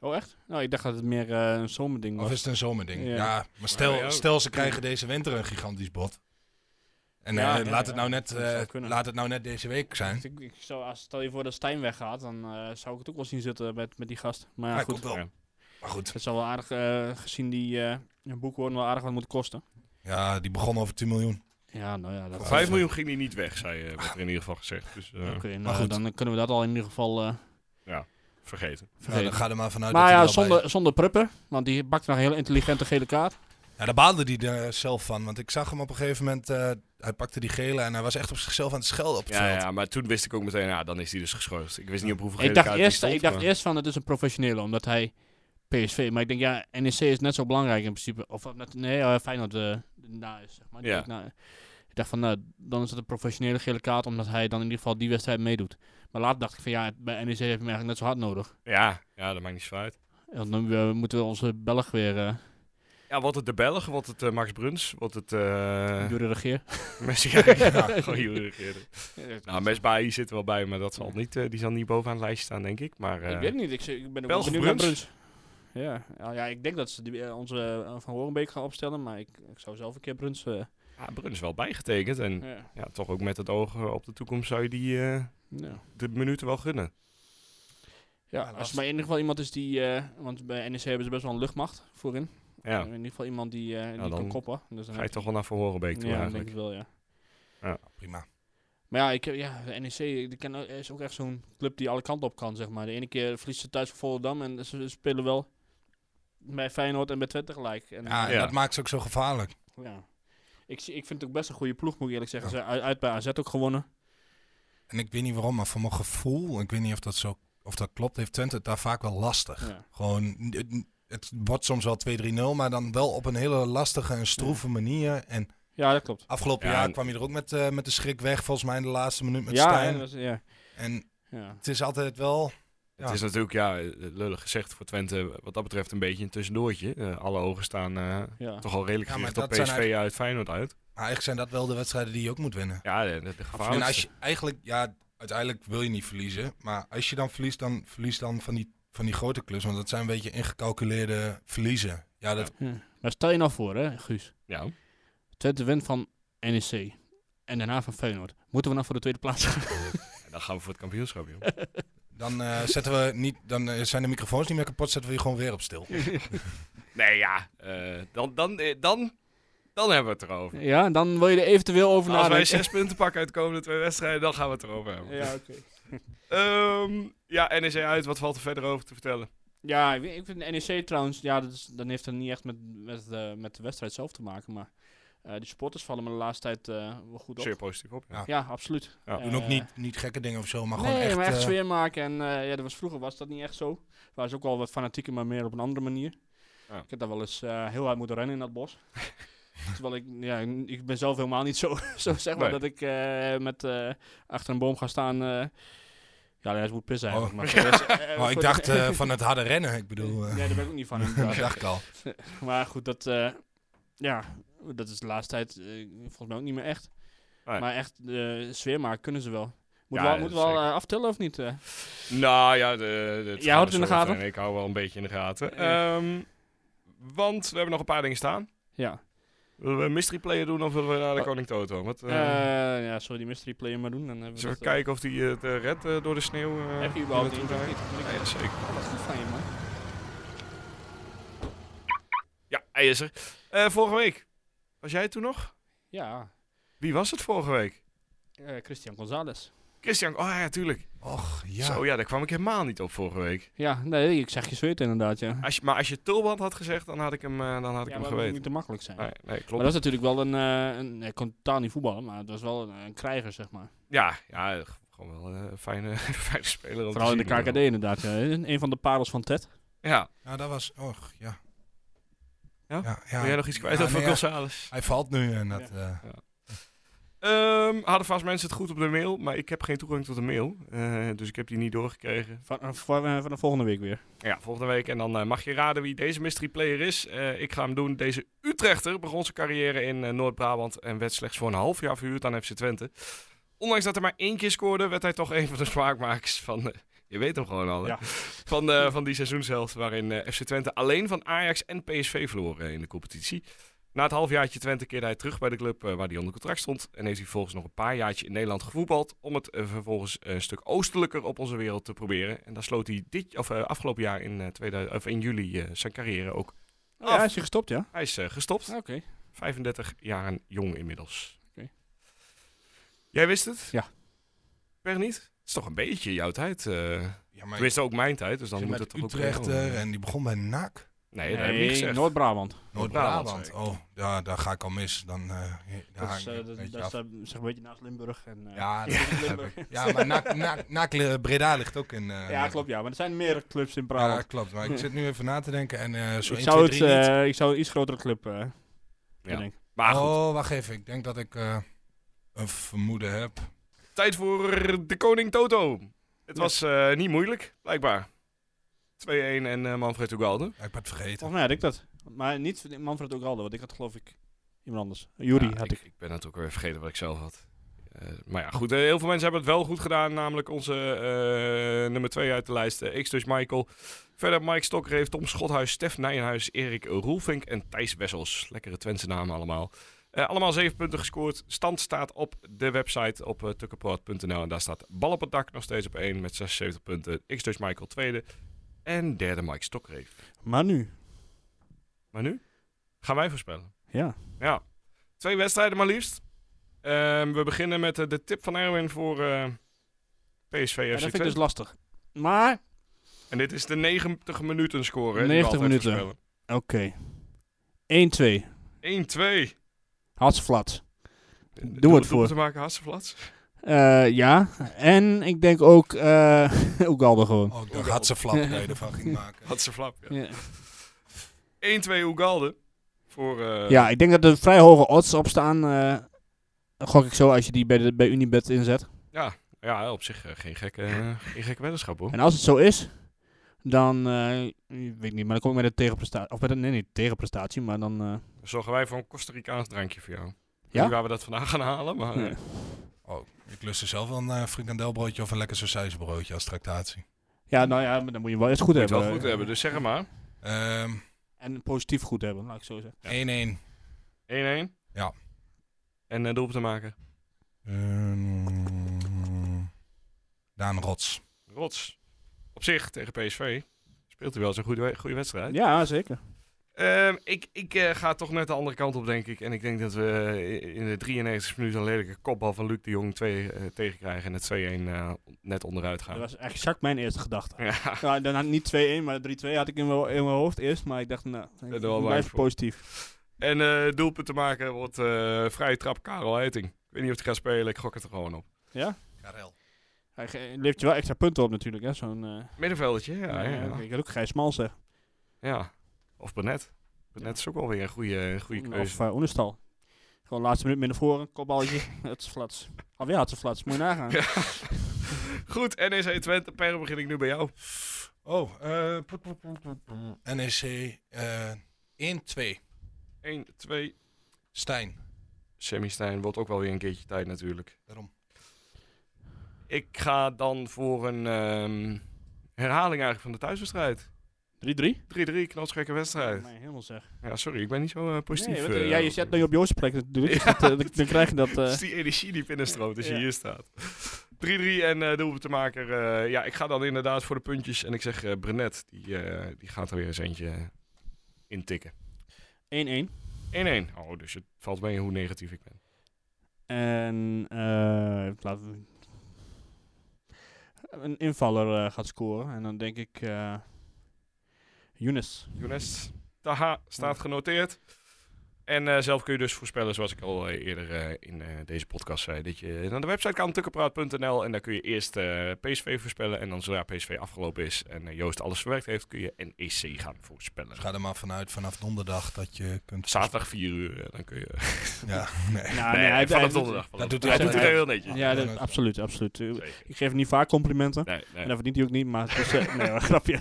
S5: Oh, echt? Nou, ik dacht dat het meer eh, een zomerding was.
S4: Of is het een zomerding?
S5: Ja.
S4: Ja, maar stel,
S1: ja.
S4: stel ze krijgen deze winter een gigantisch bod. En
S5: Ja,
S4: eh,
S5: ja, ja.
S4: laat, het nou net,
S5: Dat zou
S4: eh,
S5: kunnen.
S4: laat het nou net deze week zijn.
S5: Dus ik, ik zou, als, stel je voor dat Stijn weggaat, dan eh, zou ik het ook wel zien zitten met, met die gast. Maar ja,
S4: Hij
S5: goed.
S4: komt wel.
S1: Ja.
S4: Maar goed,
S5: Het zal wel aardig, eh, gezien die eh een boek worden, wel aardig wat moeten kosten.
S4: ja, die begon over 10 miljoen.
S5: Ja, nou ja. Dat
S4: Voor
S5: Oké,
S4: vijf-
S1: 5 miljoen ging die niet weg, zei, eh, werd er in ieder geval gezegd. Dus eh,
S5: nou,
S4: Maar goed.
S5: dan kunnen we dat al in ieder geval eh,
S1: vergeten.
S4: Nou,
S5: vergeten.
S4: dan ga er maar vanuit
S5: maar
S4: dat hij
S5: ja,
S4: er wel bij
S5: zonder, zonder Pruppen, want die bakt nog een hele intelligente gele kaart.
S4: is. Ja, daar baalde hij er zelf van. Want ik zag hem op een gegeven moment, eh, hij pakte die gele en hij was echt op zichzelf aan het schelden op het
S1: Ja,
S4: veld.
S1: ja, maar toen wist ik ook meteen, ja, dan is die dus geschorst. Ik wist niet op hoeveel
S5: Ik
S1: gele
S5: dacht,
S1: kaart die eh.
S5: eerst,
S1: stond,
S5: ik dacht
S1: maar-
S5: eerst van het is een professionele, omdat hij PSV. Maar ik denk, ja, NEC is net zo belangrijk in principe. Of net, nee, eh, Feyenoord eh na is, zeg maar. Die
S1: Ja.
S5: ook na- ik dacht van, nou, dan is het een professionele gele kaart, omdat hij dan in ieder geval die wedstrijd meedoet. Maar later dacht ik van, ja, het- bij NEC heeft hij hem eigenlijk net zo hard nodig.
S1: Ja, ja, dat maakt niet zoveel uit.
S5: Want dan eh, moeten we onze Belg weer eh
S1: Ja, wat het de Belg, wat het eh, Max Bruns, wat het... eh *laughs*
S5: door de regeer.
S1: Messi, ja, gewoon jullie regeren. Nou, Mesbaai zit er wel bij, maar dat zal niet, eh, die zal niet bovenaan het lijstje staan, denk ik. Maar eh,
S5: ik weet het niet, ik, z- ik ben ook wel
S1: Belg of
S5: benieuwd naar
S1: Bruns?
S5: Bruns. Ja, nou ja, ik denk dat ze die, eh, onze eh, Van Horenbeek gaan opstellen, maar ik, ik zou zelf een keer Bruns... eh,
S1: ja, Bruns wel bijgetekend. En ja.
S5: ja,
S1: toch ook met het oog eh, op de toekomst zou je die eh,
S5: ja.
S1: de minuten wel gunnen.
S5: Ja,
S4: Ja,
S5: als
S4: last.
S5: er maar in ieder geval iemand is die... eh, want bij NEC hebben ze best wel een luchtmacht voorin.
S1: Ja,
S5: In ieder geval iemand die, eh, die
S1: dan
S5: kan koppen. Dus dan
S1: ga je
S5: heb
S1: toch wel naar Van Horenbeek toe
S5: Ja, ik denk
S1: eigenlijk.
S5: ik wel, ja.
S4: Prima. Maar
S5: Maar ja, ik, heb- ja de NEC die kan, ook- is ook echt zo'n club die alle kanten op kan, zeg maar. De ene keer verliezen ze thuis voor Volendam en ze spelen wel bij Feyenoord en bij Twente gelijk. En,
S4: Ja, en
S1: Ja.
S4: dat maakt ze ook zo gevaarlijk.
S5: ja. Ik, zie- ik vind het ook best een goede ploeg, moet ik eerlijk zeggen. Ze hebben uit, uit bij AZ ook gewonnen.
S4: En ik weet niet waarom, maar voor mijn gevoel, ik weet niet of dat zo of dat klopt, heeft Twente het daar vaak wel lastig.
S5: Ja.
S4: Gewoon, het, het wordt soms wel 2-3-0, maar dan wel op een hele lastige en stroeve manier. En
S5: Ja, dat klopt.
S4: afgelopen
S1: Ja,
S4: jaar
S1: en-
S4: kwam je er ook met, eh, met de schrik weg, volgens mij in de laatste minuut met
S5: ja,
S4: Stijn.
S5: en dat is- ja,
S4: En
S5: ja.
S4: het is altijd wel...
S1: Het is natuurlijk, ja, eh, lullig gezegd voor Twente, wat dat betreft een beetje een tussendoortje. Eh, alle ogen staan eh,
S5: ja.
S1: toch al redelijk
S4: Ja, maar
S1: gericht op
S4: dat zijn
S1: PSV uit Feyenoord uit.
S4: Maar eigenlijk zijn dat wel de wedstrijden die je ook moet winnen.
S1: Ja, de, de, de
S4: En als
S1: gevaarlijkste.
S4: je eigenlijk, ja, uiteindelijk wil je niet verliezen. Maar als je dan verliest, dan verlies dan van die, van die grote clubs. Want dat zijn een beetje ingecalculeerde verliezen. Ja, dat,
S5: Ja. Maar stel je nou voor, hè, Guus.
S1: Ja.
S5: Twente wint van NEC. En daarna van Feyenoord. Moeten we nou voor de tweede plaats gaan?
S1: En dan gaan we voor het kampioenschap, joh.
S4: dan, eh, zetten we niet, dan eh, zijn de microfoons niet meer kapot, zetten we je gewoon weer op stil.
S1: *laughs* nee, ja. eh, dan, dan, eh, dan, dan hebben we het erover.
S5: Ja, dan wil je er eventueel over
S1: Als wij
S5: nadenken.
S1: zes punten pakken uit de komende twee wedstrijden, dan gaan we het erover hebben.
S5: Ja, oké.
S1: Ehm, ja, NEC uit. Wat valt er verder over te vertellen?
S5: Ja, ik weet- ik vind de NEC trouwens, ja, dat, is, dat heeft dan niet echt met, met, de, met de wedstrijd zelf te maken. Maar eh de supporters vallen me de laatste tijd eh, wel goed op.
S1: Zeer positief op. Ja.
S4: Ja.
S5: Ja, absoluut.
S1: Ja.
S5: Eh,
S4: Doen ook niet, niet gekke dingen of zo, maar
S5: nee,
S4: gewoon echt...
S5: maar echt
S4: eh,
S5: sfeer maken. En eh, ja, dat was, vroeger was dat niet echt zo. Waren ze ook wel wat fanatieker, maar meer op een andere manier.
S1: Ja.
S5: Ik heb daar wel eens eh, heel hard moeten rennen in dat
S1: *laughs*
S5: bos. Terwijl ik, ja, ik ben zelf helemaal niet zo, *laughs* zo zeg maar,
S1: Nee.
S5: dat ik eh, met, eh, achter een boom ga staan. eh, ja, dat moet pissen
S4: Oh.
S5: eigenlijk. Maar voor de rest, eh,
S4: *laughs* oh, ik
S5: voor- *laughs*
S4: dacht eh, van het harde rennen, ik bedoel... eh,
S5: Nee, daar ben ik ook niet van
S4: *laughs* dat
S5: inderdaad.
S4: dacht ik al.
S5: Maar goed, dat, eh, ja, dat is de laatste tijd eh, volgens mij ook niet meer echt.
S1: Nee.
S5: Maar echt, eh sfeer maken kunnen ze wel. Moet
S1: Ja,
S5: wel,
S1: dat
S5: moet
S1: is
S5: wel
S1: zeker.
S5: eh, aftellen of niet? eh?
S1: Nou ja, de, de-
S5: Jij houdt het in de
S1: zo
S5: gaten?
S1: over en Ik hou wel een beetje in de gaten.
S5: Ja.
S1: Ehm, want we hebben nog een paar dingen staan.
S5: ja.
S1: Willen we een mystery player doen of willen we naar de Koning Toto? Wat, eh,
S5: Oh. Eh, ja, sorry, die mystery player maar doen. Dan hebben we
S1: zullen we
S5: dat, eh,
S1: kijken of die het eh, redt eh, door de sneeuw? eh,
S5: Heb je
S1: die
S5: überhaupt
S1: we
S5: die?
S1: toen draaien?
S5: Moet
S1: Ja,
S5: ik-
S1: ja, zeker.
S5: Oh, Wat goed van je, man.
S1: Ja, hij is er. Eh, vorige week. Was jij het toen nog?
S5: Ja,
S1: Wie was het vorige week?
S5: eh, Christian Gonzalez.
S1: Christian. Oh ja, tuurlijk.
S4: Och, ja.
S1: Zo ja, daar kwam ik helemaal niet op vorige week.
S5: Ja, nee, ik zeg je zweet inderdaad, ja.
S1: Als je, maar als je Tulband had gezegd, dan had ik hem, eh, dan had ik
S5: ja,
S1: hem
S5: maar dat moet niet
S1: geweten.
S5: te makkelijk zijn.
S1: Nee, nee, klopt.
S5: maar dat is natuurlijk wel een... eh een ik kon totaal niet voetballen, maar het was wel een, een krijger, zeg maar.
S1: Ja, ja, eh, gewoon wel eh, een fijne, *laughs* fijne speler. om te
S5: Vooral in de
S1: zien.
S5: KKD inderdaad. ja. Een een van de parels van Ted.
S1: Ja.
S4: Ja, dat was... Och, ja.
S1: Ja?
S4: ja,
S1: Wil jij nog iets kwijt
S4: Ja,
S1: over
S4: nee, ja.
S1: Gonzales?
S4: Hij valt nu en dat... eh,
S1: Ehm, hadden vast mensen het goed op de mail, maar ik heb geen toegang tot de mail. Eh, dus ik heb die niet doorgekregen.
S5: Van, eh, van, eh, van de volgende week weer.
S1: Ja, volgende week. En dan eh, mag je raden wie deze mystery player is. Eh, ik ga hem doen. Deze Utrechter begon zijn carrière in eh, Noord-Brabant en werd slechts voor een half jaar verhuurd aan FC Twente. Ondanks dat hij maar één keer scoorde, werd hij toch een van de smaakmakers van... eh, je weet hem gewoon al, hè? *laughs*
S5: Ja.
S1: Van, eh, van die seizoenshelft waarin eh, FC Twente alleen van Ajax en PSV verloren in de competitie. Na het halfjaartje Twente keerde hij terug bij de club eh, waar hij onder contract stond. En heeft hij volgens nog een paar jaartje in Nederland gevoetbald. Om het eh, vervolgens een stuk oostelijker op onze wereld te proberen. En daar sloot hij dit, of, eh, afgelopen jaar in, eh, 2000, of in juli eh, zijn carrière ook.
S5: Oh, ja, is je gestopt, ja?
S1: Hij is eh, gestopt.
S5: Ah, Oké.
S1: 35 jaar jong inmiddels.
S5: Oké.
S1: Jij wist het?
S5: Ja.
S1: Per niet? Het is toch een beetje jouw tijd. eh
S4: ja, maar
S1: tenminste ook mijn tijd, dus dan
S4: Zit
S1: moet
S4: met eh,
S1: het toch ook... eh,
S4: Utrechter
S1: regelen.
S4: en die begon bij NAC.
S1: Nee, dat heb ik niet gezegd.
S5: Noord-Brabant.
S1: Noord-Brabant,
S4: Noord-Brabant. Oh, ja, daar ga ik al mis. Dan, eh daar
S5: Dat
S4: haak
S5: is,
S4: ik
S5: eh,
S4: een
S5: dat,
S4: beetje
S5: dat is
S4: af.
S5: eh, zeg een beetje naast Limburg. En, eh, *laughs*
S4: ja, dat
S5: Limburg.
S4: heb ik. ja, maar NAC, NAC, NAC, eh, Breda ligt ook in... eh,
S5: ja, klopt, ja. Maar er zijn meer clubs in
S4: Ja,
S5: Brabant.
S4: klopt. Maar ik zit nu even na te denken en eh zo
S5: ik,
S4: 1,
S5: zou het,
S4: 2, 3 niet.
S5: eh, Ah, ik zou een iets grotere club eh bedenken.
S1: Maar goed,
S4: Oh, wacht even. Ik denk dat ik eh, een vermoeden heb.
S1: tijd voor de koning Toto. Het
S5: Ja.
S1: was eh, niet moeilijk, blijkbaar. 2-1 en eh, Manfred Ugalde.
S4: Ja, ik ben het vergeten.
S5: Volgens mij had ik dat. Maar niet Manfred Ogalde, want ik had geloof ik iemand anders. Jury
S1: Ja,
S5: had ik.
S1: Ik ben het ook weer vergeten wat ik zelf had. Eh, maar ja, goed. eh, heel veel mensen hebben het wel goed gedaan. Namelijk onze eh, nummer 2 uit de lijst, eh, X dus Michael. Verder Mike Stokker heeft Tom Schothuis, Stef Nijenhuis, Erik Roelvink en Thijs Wessels. Lekkere Twentse namen allemaal. Eh, allemaal zeven punten gescoord. Stand staat op de website op eh tukkenproad.nl. En daar staat Bal op het dak nog steeds op 1 met 76 punten. X dus Michael tweede. En derde Mike Stokker heeft.
S5: Maar nu,
S1: Maar nu gaan wij voorspellen.
S5: ja.
S1: Ja, twee wedstrijden maar liefst. Ehm, we beginnen met eh, de tip van Erwin voor eh, PSV
S5: En
S1: FC
S5: dat vind ik
S1: Twente.
S5: dus lastig. Maar,
S1: En dit is de 90 minuten score. hè, die we
S5: 90
S1: altijd
S5: minuten.
S1: voorspellen.
S5: oké. 1-2.
S1: 1-2.
S5: Hartstikke flat.
S1: Doe
S5: het voor.
S1: *laughs* te maken, Hasseflats.
S5: Eh, ja, en ik denk ook eh *laughs* Oegalde gewoon.
S4: Oh, ik dacht, had ze flap dat je ervan ging maken.
S1: Had ze flap, ja.
S5: Ja.
S1: 1-2 Ugalde. Voor, eh,
S5: Ja, ik denk dat er vrij hoge odds op staan. eh, gok ik zo als je die bij, de, bij Unibet inzet.
S1: ja. Ja, op zich eh, geen, gekke, eh, geen gekke weddenschap hoor.
S5: En als het zo is, dan eh, weet ik niet, maar dan kom ik met een tegenprestatie. Of met een, nee, niet tegenprestatie, maar dan. eh,
S1: Zorgen wij voor een Costa Ricaans drankje voor jou. Ik
S5: Ja?
S1: weet niet waar we dat vandaan gaan halen, maar... eh,
S5: nee.
S4: Oh, ik lust er zelf wel een eh, frikandelbroodje of een lekker sausijzenbroodje als tractatie.
S5: *laughs* Ja, nou ja, maar dan moet je wel eerst goed
S1: moet je
S5: hebben.
S1: wel goed hebben, dus zeg het maar. 1-1.
S4: Ehm, 1-1.
S5: En positief goed hebben, laat ik zo zeggen.
S4: Ja.
S1: En een doelpunt te maken.
S4: Ehm, Daan Rots.
S1: Rots. Op zich, tegen PSV, speelt hij wel eens een goede, we- goede wedstrijd.
S5: Ja, zeker.
S1: Ehm, ik ik eh, ga toch net de andere kant op, denk ik. En ik denk dat we eh, in de 93 minuten een lelijke kopbal van Luc de Jong twee, eh, tegenkrijgen. En het 2-1 eh, net onderuit
S5: Dat
S1: gaan.
S5: was exact mijn eerste gedachte.
S1: *laughs* Ja,
S5: Ja, dan had niet 2-1, maar 3-2 had ik in mijn, in mijn hoofd eerst. Maar ik dacht, nou,
S1: er
S5: ik
S1: wel bang
S5: blijf
S1: voor.
S5: positief.
S1: En eh doelpunt te maken wordt eh vrije trap Karel Heiting. Ik weet niet of hij gaat spelen, ik gok het er gewoon op.
S4: Karel.
S5: Hij ge- levert je wel extra punten op natuurlijk, hè. Zo'n, eh,
S1: Middenveldetje, ja.
S5: eh,
S1: ja, ja.
S5: Ik had ook Gijs Mal zeggen.
S1: Ja. Of Benet. Benet is ook wel weer een goede, goede keuze.
S5: Of eh Oenestal. Gewoon laatste minuut midden voor, een kopballetje. *laughs* het is flats. Alweer had ze flats, moet je nagaan.
S1: Ja. *laughs* Goed, NEC Twente. Per begin ik nu bij jou.
S4: Oh, eh, poep, poep, poep, poep, poep. NEC eh 1-2.
S1: 1, 2.
S4: Stijn.
S1: Sammy Stijn wordt ook wel weer een keertje tijd natuurlijk.
S4: Daarom.
S1: Ik ga dan voor een ehm, herhaling eigenlijk van de thuiswedstrijd.
S5: 3-3?
S1: 3-3, knotsgekke wedstrijd.
S5: Nee, helemaal zeg.
S1: Ja, sorry, ik ben niet zo eh, positief.
S5: Nee, want, eh,
S1: eh,
S5: ja,
S1: *laughs*
S5: je zet nu op Joost plek natuurlijk. dus dat, eh, *laughs* dan, dan krijg je dat... eh,
S1: Het *laughs* is die energie die binnenstroomt als je
S5: Ja.
S1: hier staat. 3-3 en eh doelpuntenmaker. eh ja, ik ga dan inderdaad voor de puntjes. En ik zeg eh Brenet, die, eh, die gaat er weer eens eentje eh, intikken.
S5: 1-1.
S1: 1-1. Oh, dus het valt mee hoe negatief ik ben.
S5: En eh laten we een invaller eh, gaat scoren. En dan denk ik eh
S1: *laughs*
S5: Younes.
S1: Younes Taha staat genoteerd. En eh, zelf kun je dus voorspellen, zoals ik al eh, eerder eh, in eh, deze podcast zei, dat je naar de website kan, tukkenpraat.nl. En daar kun je eerst eh, PSV voorspellen. En dan zodra PSV afgelopen is en eh, Joost alles verwerkt heeft, kun je NEC gaan voorspellen.
S4: Dus ga er maar vanuit vanaf donderdag dat je
S1: *laughs*
S4: kunt...
S1: Zaterdag 4 uur, eh, dan kun je...
S4: Ja, nee.
S5: Nou,
S1: nee,
S5: hij-
S1: vanaf
S5: hij-
S1: donderdag. vanaf-
S4: dat doet hij
S1: hij
S5: altijd.
S1: doet het heel netjes.
S5: Ja, dat- absoluut, absoluut. Eh,
S1: Zeker.
S5: Ik geef hem niet vaak complimenten.
S1: Nee, nee.
S5: En dat verdient hij ook niet, maar... het is, eh, nee, hoor, *laughs*
S1: *laughs*
S5: grapje.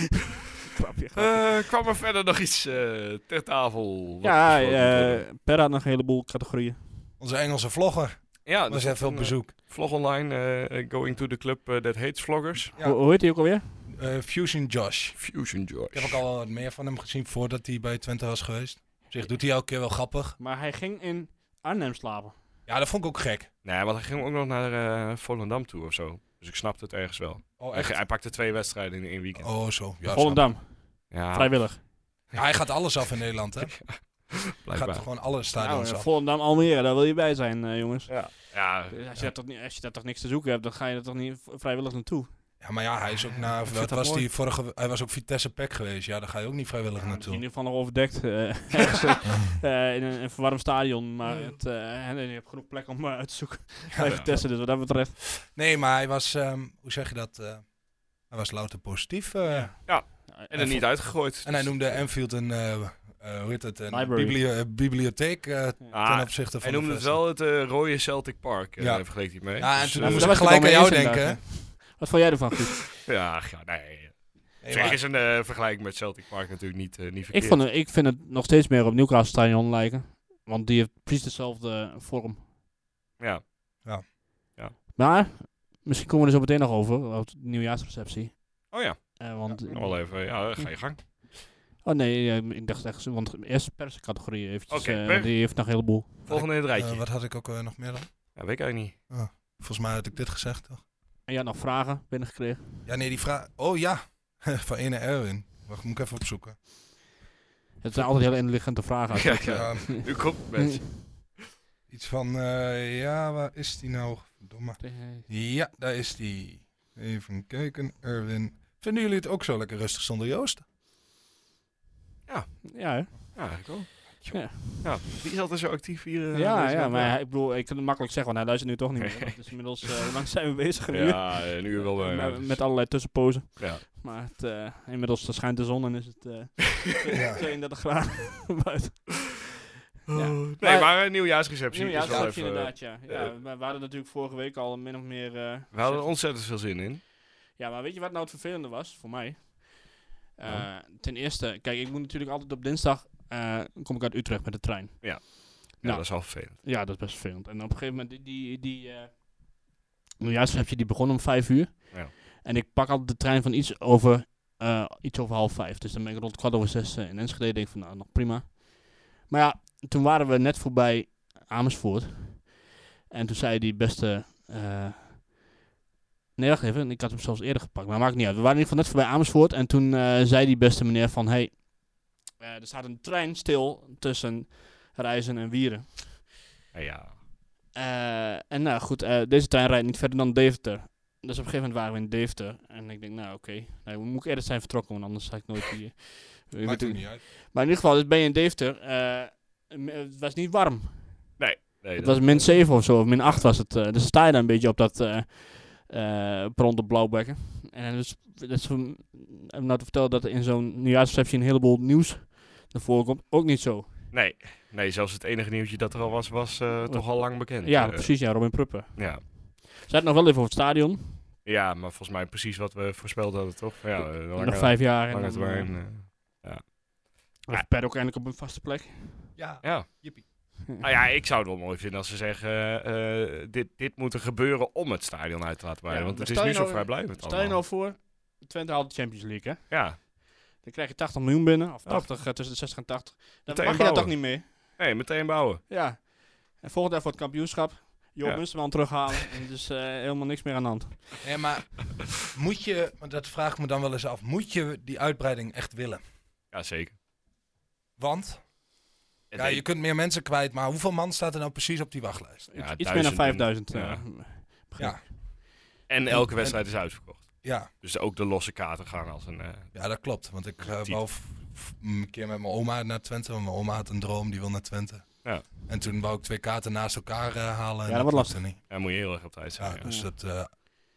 S5: grapje, grapje.
S1: Eh, kwam er verder nog iets eh, ter tafel? wat
S5: ja,
S1: besproken moet worden?
S5: eh Per had nog een heleboel categorieën.
S4: Onze Engelse vlogger.
S1: ja,
S4: Was
S1: dus
S4: even
S1: een, eh,
S4: op bezoek.
S1: Vlog online, eh, going to the club eh, that hates vloggers.
S4: Ja.
S5: Hoe, hoe heet hij ook alweer?
S4: Eh, Fusion Josh.
S1: Fusion George.
S4: Ik heb ook al wel wat meer van hem gezien voordat hij bij Twente was geweest. Op zich doet hij elke keer wel grappig.
S5: Maar hij ging in Arnhem slapen.
S1: Oh,
S4: Ja, dat vond ik ook gek.
S1: Nee, want hij ging ook nog naar eh Volendam toe of zo. Dus ik snapte het ergens wel.
S4: Oh,
S1: Hij, hij pakte twee wedstrijden in één weekend.
S4: Oh, zo. Ja,
S5: Volendam,
S1: Ja,
S5: vrijwillig.
S4: snap. Ja, hij gaat alles af in Nederland, hè? Hij gaat
S1: blijkbaar.
S4: gewoon alle
S5: Nou,
S4: stadions
S5: eh,
S4: af.
S5: Volendam, Almere, daar wil je bij zijn, eh, jongens.
S1: Ja,
S5: Dus Als je, daar toch niet, als je daar toch niks te zoeken hebt, dan ga je er toch niet v- vrijwillig naartoe.
S4: Ja, maar ja, hij is ook naar...
S1: vind
S4: Wat
S1: dat
S4: was
S1: mooi.
S4: die vorige... Hij was ook Vitesse Pack geweest. Ja, daar ga je ook niet vrijwillig
S5: Ja, In
S4: naartoe.
S5: ieder geval nog overdekt. eh, *laughs* ergens, eh, eh, in een, een verwarmd stadion, maar het, eh, en je hebt genoeg plek om eh, uit te zoeken. Bij Vitesse, dus wat dat betreft.
S4: Nee, maar hij was... ehm, hoe zeg je dat? eh, hij was louter positief. eh,
S1: en er niet uitgegooid. Dus-
S4: En hij noemde Enfield een... eh, eh, hoe heet het? Een
S5: Library.
S4: bibli- eh, bibliotheek eh,
S1: Ah,
S4: ten opzichte van
S1: hij
S4: de
S1: noemde het
S4: Vesten.
S1: wel het eh, rode Celtic Park, eh
S4: Ja.
S1: vergeleek hij mee.
S4: Ja, en
S1: Dus,
S4: toen
S1: eh,
S4: moest
S5: daar
S4: ik
S5: was ik
S4: gelijk
S5: het
S4: aan
S5: wel
S4: jou
S5: mee eens
S4: denken. hè?
S5: inderdaad, Wat vond jij ervan, Guus?
S1: *laughs* ja, ja, nee.
S4: Nee,
S1: Zeg
S4: maar-
S1: is een eh, vergelijking met Celtic Park natuurlijk niet, eh, niet
S5: ik,
S1: verkeerd.
S5: vond, het- ik vind het nog steeds meer op Newcastle Stadion lijken. Want die heeft precies dezelfde vorm.
S1: Ja.
S5: Maar, misschien komen we er zo meteen nog over, op de nieuwjaarsreceptie.
S1: Oh ja,
S5: Eh, want,
S1: nog wel even. Ja, ga je gang.
S5: Oh nee, ja, ik dacht echt, want eerst perscategorie eventjes.
S1: Oké,
S5: eh, want
S1: per-
S5: die heeft nog een heleboel.
S1: Volgende in het rijtje.
S4: Eh, wat had ik ook eh, nog meer dan?
S1: ja, weet ik eigenlijk niet.
S4: Volgens mij had ik dit gezegd, toch?
S5: En je had nog vragen binnengekregen.
S4: Ja, nee, die vraag... Oh ja, *laughs* van ene Erwin. Wacht, moet ik even opzoeken.
S5: Het zijn altijd hele intelligente vragen. als je
S1: Ja, *laughs*
S5: dat,
S1: ja.
S4: Ja,
S1: Nu komt
S5: *laughs*
S1: het
S4: *laughs*
S1: mensen.
S4: iets van... eh, ja, waar is die nou? Verdomme.
S5: eh,
S4: Ja, daar is die. Even kijken, Erwin. Vinden jullie het ook zo lekker rustig zonder Joost?
S5: Ja, hè?
S1: Ja, ik wel. Ja, die is altijd zo actief hier. eh,
S5: ja,
S1: deze
S5: ja,
S1: man.
S5: maar hij- ik bedoel, ik kan het makkelijk zeggen, want hij luistert nu toch niet
S1: *laughs*
S5: meer. Dus inmiddels, eh, hoe lang zijn we bezig? Een uur?
S1: Ja, een uur wel. eh,
S5: Met- Met allerlei tussenpozen.
S1: ja.
S5: Maar het, eh, inmiddels schijnt de zon en is
S1: *laughs*
S5: het eh,
S4: Ja.
S5: 32 graden *laughs* buiten. Ja.
S1: Nee,
S5: Oh, Maar-
S1: maar een nieuwjaarsreceptie.
S5: Ja,
S1: is wel
S5: dat
S1: even,
S5: inderdaad, ja. ja
S1: eh,
S5: we waren natuurlijk vorige week al min of meer... eh,
S1: We hadden er
S5: gezegd-
S1: ontzettend veel zin in.
S5: Ja, maar weet je wat nou het vervelende was voor mij? Eh, Ten eerste, kijk, ik moet natuurlijk altijd op dinsdag... eh, kom ik uit Utrecht met de trein.
S1: Ja,
S5: Nou.
S1: dat is al vervelend.
S5: Ja, dat is best vervelend. En op een gegeven moment, die, die, die eh nou nieuwjaarsreceptie die begon om vijf uur.
S1: Ja.
S5: En ik pak altijd de trein van iets over, eh, iets over half vijf. Dus dan ben ik rond kwart over zes eh, in Enschede. Denk ik van, nou, nog prima. Maar ja, toen waren we net voorbij Amersfoort. En toen zei die beste... eh, nee, wacht even. Ik had hem zelfs eerder gepakt. Maar maakt niet uit. We waren in ieder geval net voorbij Amersfoort. En toen eh, zei die beste meneer van... Hey, eh, er staat een trein stil tussen Reizen en Wieren.
S1: Ja, ja.
S5: Eh, en nou goed, eh, deze trein rijdt niet verder dan Deventer. Dus op een gegeven moment waren we in Deventer. En ik denk, nou oké, nee, we moeten eerder zijn vertrokken, want anders ga ik nooit
S1: *laughs*
S5: hier. Ik
S4: Maakt
S5: weet
S4: ook
S5: het-
S4: niet uit.
S5: maar in ieder geval, dus ben je in Deventer. eh, m- het was niet warm.
S1: Nee,
S5: Het
S1: dat-
S5: was min 7 of zo, of min 8 was het. eh, dus dan sta je daar een beetje op dat eh eh pront op blauwbekken. En dus, dat is om om nou te vertellen dat er in zo'n nieuwjaarsreceptie een heleboel nieuws naar voren komt. Ook niet zo.
S1: nee, nee, zelfs het enige nieuwtje dat er al was, was eh, toch al lang bekend.
S5: Oh. Ja,
S1: Eh,
S5: precies, ja, Robin Pruppen.
S1: Ja.
S5: Ze hadden het nog wel even over het stadion.
S1: ja, maar volgens mij precies wat we voorspeld hadden, toch? Ja, eh, lange-
S5: nog vijf jaar.
S1: lange
S5: en dan, eh,
S1: termijn, eh.
S5: Of Per ook eindelijk op een vaste
S1: *laughs*
S5: plek.
S4: Ja,
S1: ja.
S4: jippie.
S1: Nou ja, ik zou het wel mooi vinden als ze zeggen, eh, eh, dit, dit moet er gebeuren om het stadion uit te laten
S5: Ja,
S1: waaien. want
S5: maar
S1: het is
S5: stel
S1: nu
S5: je
S1: zo
S5: nou-
S1: vrijblijvend
S5: *laughs* Stel je
S1: allemaal.
S5: nou voor, Twente haalt de Champions League, hè?
S1: Ja,
S5: Dan krijg je 80 miljoen binnen, of
S1: Ja.
S5: 80, eh, tussen de 60 en 80. Dan
S1: Oh. Meteen
S5: mag je dat
S1: bouwen.
S5: toch niet meer?
S1: nee, meteen bouwen.
S5: Ja. En volgend jaar voor het kampioenschap, Joop
S1: Ja.
S5: Munsterman terughalen. *laughs* en dus eh, helemaal niks meer aan de hand.
S4: Nee, maar moet je, want dat vraag ik me dan wel eens af, moet je die uitbreiding echt willen?
S1: Ja, zeker.
S4: Want ja, je kunt meer mensen kwijt, maar hoeveel man staat er nou precies op die wachtlijst?
S1: Ja,
S5: Iets- Iets meer dan
S1: duizenden.
S5: 5000. eh,
S1: Ja.
S5: begin ik.
S4: Ja. oh,
S1: En elke wedstrijd is uitverkocht.
S4: Ja,
S1: Dus ook de losse kaarten gaan als een... eh,
S4: ja dat klopt. Want ik eh
S1: Typ.
S4: wou f- f- een keer met mijn oma naar Twente, want mijn oma had een droom, die wil naar Twente.
S1: Ja.
S4: En toen wou ik twee kaarten naast elkaar eh, halen. en
S5: Ja, dat wordt
S4: klopte niet.
S1: daar moet je heel erg op tijd zijn.
S4: Ja,
S1: ja.
S4: dus, dat, eh,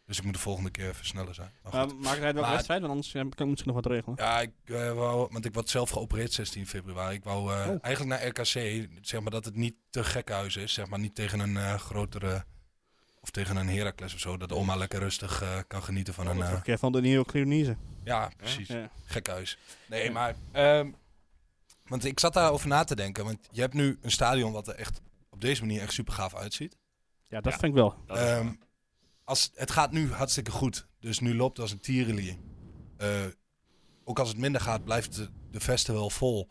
S4: dus ik moet de volgende keer even sneller zijn. Maar
S5: Maar
S4: goed.
S5: maakt het uit welke
S4: Maar-
S5: wedstrijd, want anders eh, kan ik misschien nog wat regelen.
S4: Ja, ik, eh, wou, want ik word zelf geopereerd 16 februari. Ik wou eh,
S5: Oh.
S4: eigenlijk naar RKC, zeg maar dat het niet te gekkenhuis is. Zeg maar niet tegen een eh, grotere, of tegen een Heracles of zo. Dat oma lekker rustig eh, kan genieten van een...
S5: Vorige
S4: eh,
S5: keer van de nieuwe Cleonise.
S4: ja, precies.
S5: Oh, Ja.
S4: Gekhuis. Nee,
S5: Ja.
S4: maar... ehm, want ik zat daarover na te denken. Want je hebt nu een stadion wat er echt op deze manier echt super gaaf uitziet.
S5: ja, dat
S1: Ja.
S5: vind ik wel.
S1: Dat is waar.
S4: Ehm, als, het gaat nu hartstikke goed. Dus nu loopt als een tierenlier. Eh, ook als het minder gaat, blijft de, de vesten wel vol.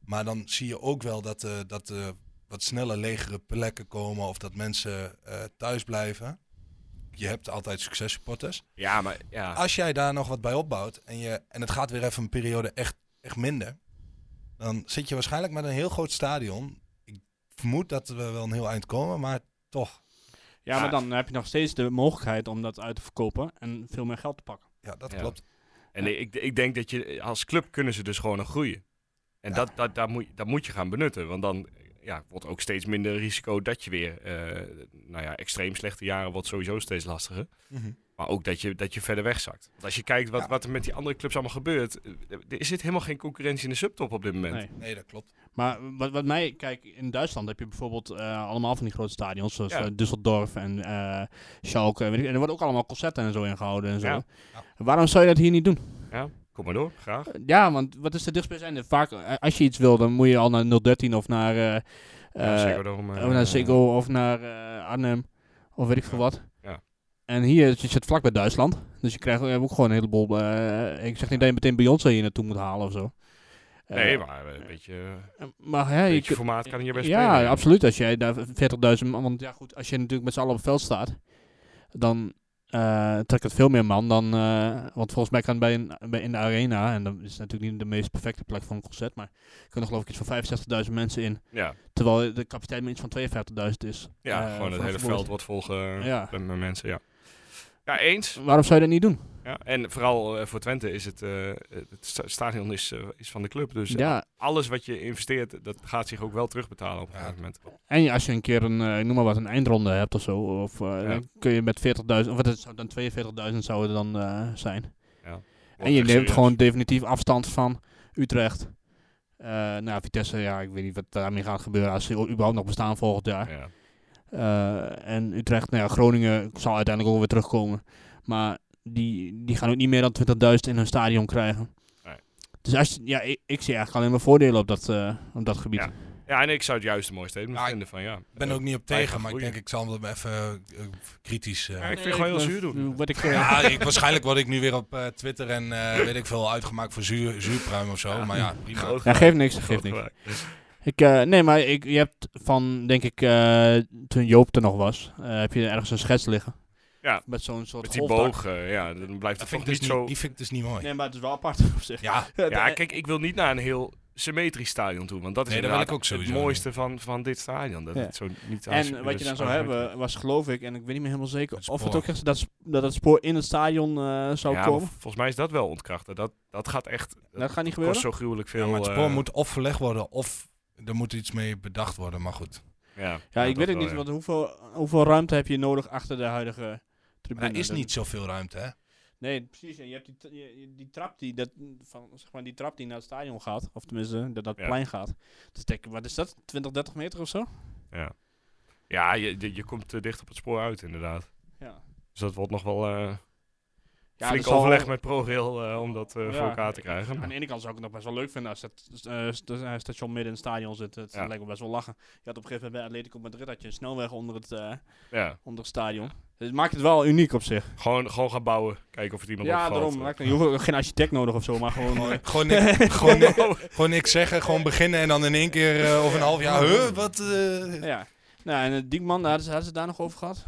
S4: Maar dan zie je ook wel dat, eh dat eh, wat sneller legere plekken komen. Of dat mensen eh, thuis blijven. Je hebt altijd successupporters.
S1: ja, maar ja.
S4: Als jij daar nog wat bij opbouwt. En, je, en het gaat weer even een periode echt, echt minder. Dan zit je waarschijnlijk met een heel groot stadion. Ik vermoed dat we wel een heel eind komen. Maar toch.
S5: Ja,
S1: Ja.
S5: maar dan heb je nog steeds de mogelijkheid om dat uit te verkopen en veel meer geld te pakken.
S4: Ja, dat
S1: Ja.
S4: klopt.
S1: En ik, ik denk dat je als club kunnen ze dus gewoon nog groeien. En
S4: Ja.
S1: dat, dat, daar moet, je- dat moet je gaan benutten. Want dan ja, wordt ook steeds minder risico dat je weer, eh, nou ja, extreem slechte jaren wordt sowieso steeds lastiger.
S4: Mhm.
S1: Maar ook dat je, dat je verder wegzakt. Want als je kijkt wat,
S4: Ja.
S1: wat er met die andere clubs allemaal gebeurt, eh, er zit helemaal geen concurrentie in de subtop op dit moment.
S5: Nee.
S4: Nee, dat klopt.
S5: Maar wat, wat mij, kijk, in Duitsland heb je bijvoorbeeld eh, allemaal van die grote stadions, zoals
S1: Ja.
S5: eh, Düsseldorf en eh Schalke. en weet ik- En er worden ook allemaal concerten en zo ingehouden en zo.
S1: Ja.
S5: Waarom zou je dat hier niet doen?
S1: Ja, kom maar door, graag.
S5: Eh, Ja, want wat is de dichtstbijzijnde? Vaak, eh, als je iets wil, dan moet je al naar 013 of naar, eh,
S1: Ja,
S5: eh,
S1: Ziggo Dome, eh,
S5: of naar Ziggo of naar eh, Arnhem of weet ik veel wat.
S1: Ja.
S5: En hier je zit vlak bij Duitsland, dus je krijgt je hebt ook gewoon een heleboel. eh, ik zeg niet dat je meteen Beyoncé hier naartoe moet halen of zo. Eh,
S1: Nee, maar eh, een beetje, eh,
S5: maar ja,
S1: een
S5: je,
S1: beetje
S5: kunt-
S1: formaat kan je best
S5: ja,
S1: spelen.
S5: absoluut. Als jij daar 40.000 man. Want ja, goed, als je natuurlijk met z'n allen op het veld staat, dan eh trekt het veel meer man dan. eh, want volgens mij kan bij een, bij in de arena, en dat is natuurlijk niet de meest perfecte plek voor een concert, maar er kunnen geloof ik iets van 65.000 mensen in.
S1: Ja,
S5: Terwijl de capaciteit maar iets van 52.000 is.
S1: ja
S5: Eh,
S1: gewoon het
S5: voor
S1: hele
S5: voetballers.
S1: veld wordt volgen
S5: Ja.
S1: met met mensen, ja. Ja, eens.
S5: Waarom zou je dat niet doen?
S1: Ja. En vooral eh, voor Twente is het, eh, het sta- stadion is, eh, is van de club. Dus eh,
S6: Ja,
S1: alles wat je investeert, dat gaat zich ook wel terugbetalen op een
S4: Ja.
S1: gegeven moment.
S6: en als je een keer een, eh, ik noem maar wat, een eindronde hebt of zo, of, eh,
S1: Ja.
S6: dan kun je met 40.000, of het zou dan 42.000 zou het dan eh, zijn.
S1: Wordt
S6: En je
S1: echt
S6: neemt
S1: serieus.
S6: gewoon definitief afstand van Utrecht. Eh, nou, Vitesse, ja, ik weet niet wat daarmee gaat gebeuren als ze überhaupt nog bestaan volgend jaar.
S1: Ja.
S6: Eh, en Utrecht, nou ja, Groningen zal uiteindelijk ook weer terugkomen. Maar die, die gaan ook niet meer dan 20.000 in hun stadion krijgen.
S1: Nee.
S6: Dus als, je- ja, ik, ik zie eigenlijk alleen maar voordelen op dat, eh, op dat gebied.
S1: ja, en ik zou het juist een mooi statement
S4: Ja, ik
S1: vinden van ja.
S4: Ik ben er ook niet op
S1: Hij
S4: tegen,
S1: gaat
S4: maar ik
S1: groeien.
S4: denk ik zal hem even eh, kritisch... eh,
S1: Ja, ik vind gewoon heel
S6: ben-
S1: zuur doen.
S6: Wat ik, eh,
S4: Ja, ik, waarschijnlijk word ik nu weer op eh, Twitter en eh, weet ik veel uitgemaakt voor zuur, zuurpruim of zo. Maar ja, prima.
S1: Groot
S6: ja,
S1: gelijk.
S6: geeft niks,
S1: Groot
S6: geeft niks.
S1: gelijk.
S6: Ik, eh, nee, maar ik, je hebt van, denk ik, eh, toen Joop er nog was, eh, heb je ergens een schets liggen.
S1: Ja.
S6: Met zo'n soort
S1: Met die
S6: golfdak.
S1: boog, eh, ja, dan blijft het
S4: Dat vind
S1: toch niet
S4: ik dus niet,
S1: zo...
S4: Die vind ik dus niet mooi.
S5: Nee, maar het is wel apart *laughs* op zich.
S4: Ja,
S1: Ja, kijk, ik wil niet naar een heel symmetrisch stadion toe, want dat is
S4: Nee, dat wil
S1: inderdaad
S4: ik ook sowieso
S1: het mooiste van, van dit stadion. Dat
S5: Ja.
S1: het zo niet
S5: En wat je dan zou hebben, was geloof ik, en ik weet niet meer helemaal zeker
S4: Het
S5: of het
S4: spoor.
S5: ook echt dat, sp- dat het spoor in het stadion eh, zou
S1: ja,
S5: komen.
S1: maar volgens mij is dat wel ontkrachten. Dat, dat gaat echt, dat
S5: Dat gaat niet
S1: kost
S5: gebeuren.
S1: zo gruwelijk veel.
S4: Ja, maar het
S1: eh,
S4: spoor moet of verlegd worden of er moet iets mee bedacht worden. Maar goed.
S1: Ja,
S5: Ja, ik
S1: dat
S5: weet het
S1: wel,
S5: niet,
S1: ja.
S5: want hoeveel, hoeveel ruimte heb je nodig achter de huidige tribune?
S4: Maar er is
S5: Dat-
S4: niet zoveel ruimte, hè?
S5: Nee, precies. En je hebt die, t- je- je- die trap die, dat, van, zeg maar, die trap die naar het stadion gaat, of tenminste, dat, dat
S1: Ja.
S5: plein gaat. Dus denk ik, wat is dat? 20, 30 meter of zo?
S1: Ja, ja je, je, je komt te dicht op het spoor uit, inderdaad.
S5: Ja.
S1: Dus dat wordt nog wel eh,
S5: Ja,
S1: flink
S5: dat zal-
S1: overleg met ProRail eh, om dat eh,
S5: Ja.
S1: voor elkaar te krijgen.
S5: Aan de ene kant zou ik het nog best wel leuk vinden als het eh, st- eh, station midden in het stadion zit. Het
S1: Ja.
S5: lijkt me best wel lachen. Je had op een gegeven moment bij Atletico Madrid had je een snelweg onder het, eh,
S1: Ja,
S5: onder het stadion. Dus het maakt het wel uniek op zich.
S1: gewoon, gewoon gaan bouwen. Kijken of het iemand
S5: ja,
S1: opvalt.
S5: daarom. Maakt het, je hoeft ook geen architect nodig of zo, maar gewoon... *laughs* eh,
S4: Gewoon, niks- gewoon, ni- gewoon niks zeggen, gewoon beginnen en dan in één keer eh, over een half jaar. Huh, wat? eh?
S5: ja. Nou, en eh, Diekman, daar hadden ze, hadden ze het daar nog over gehad?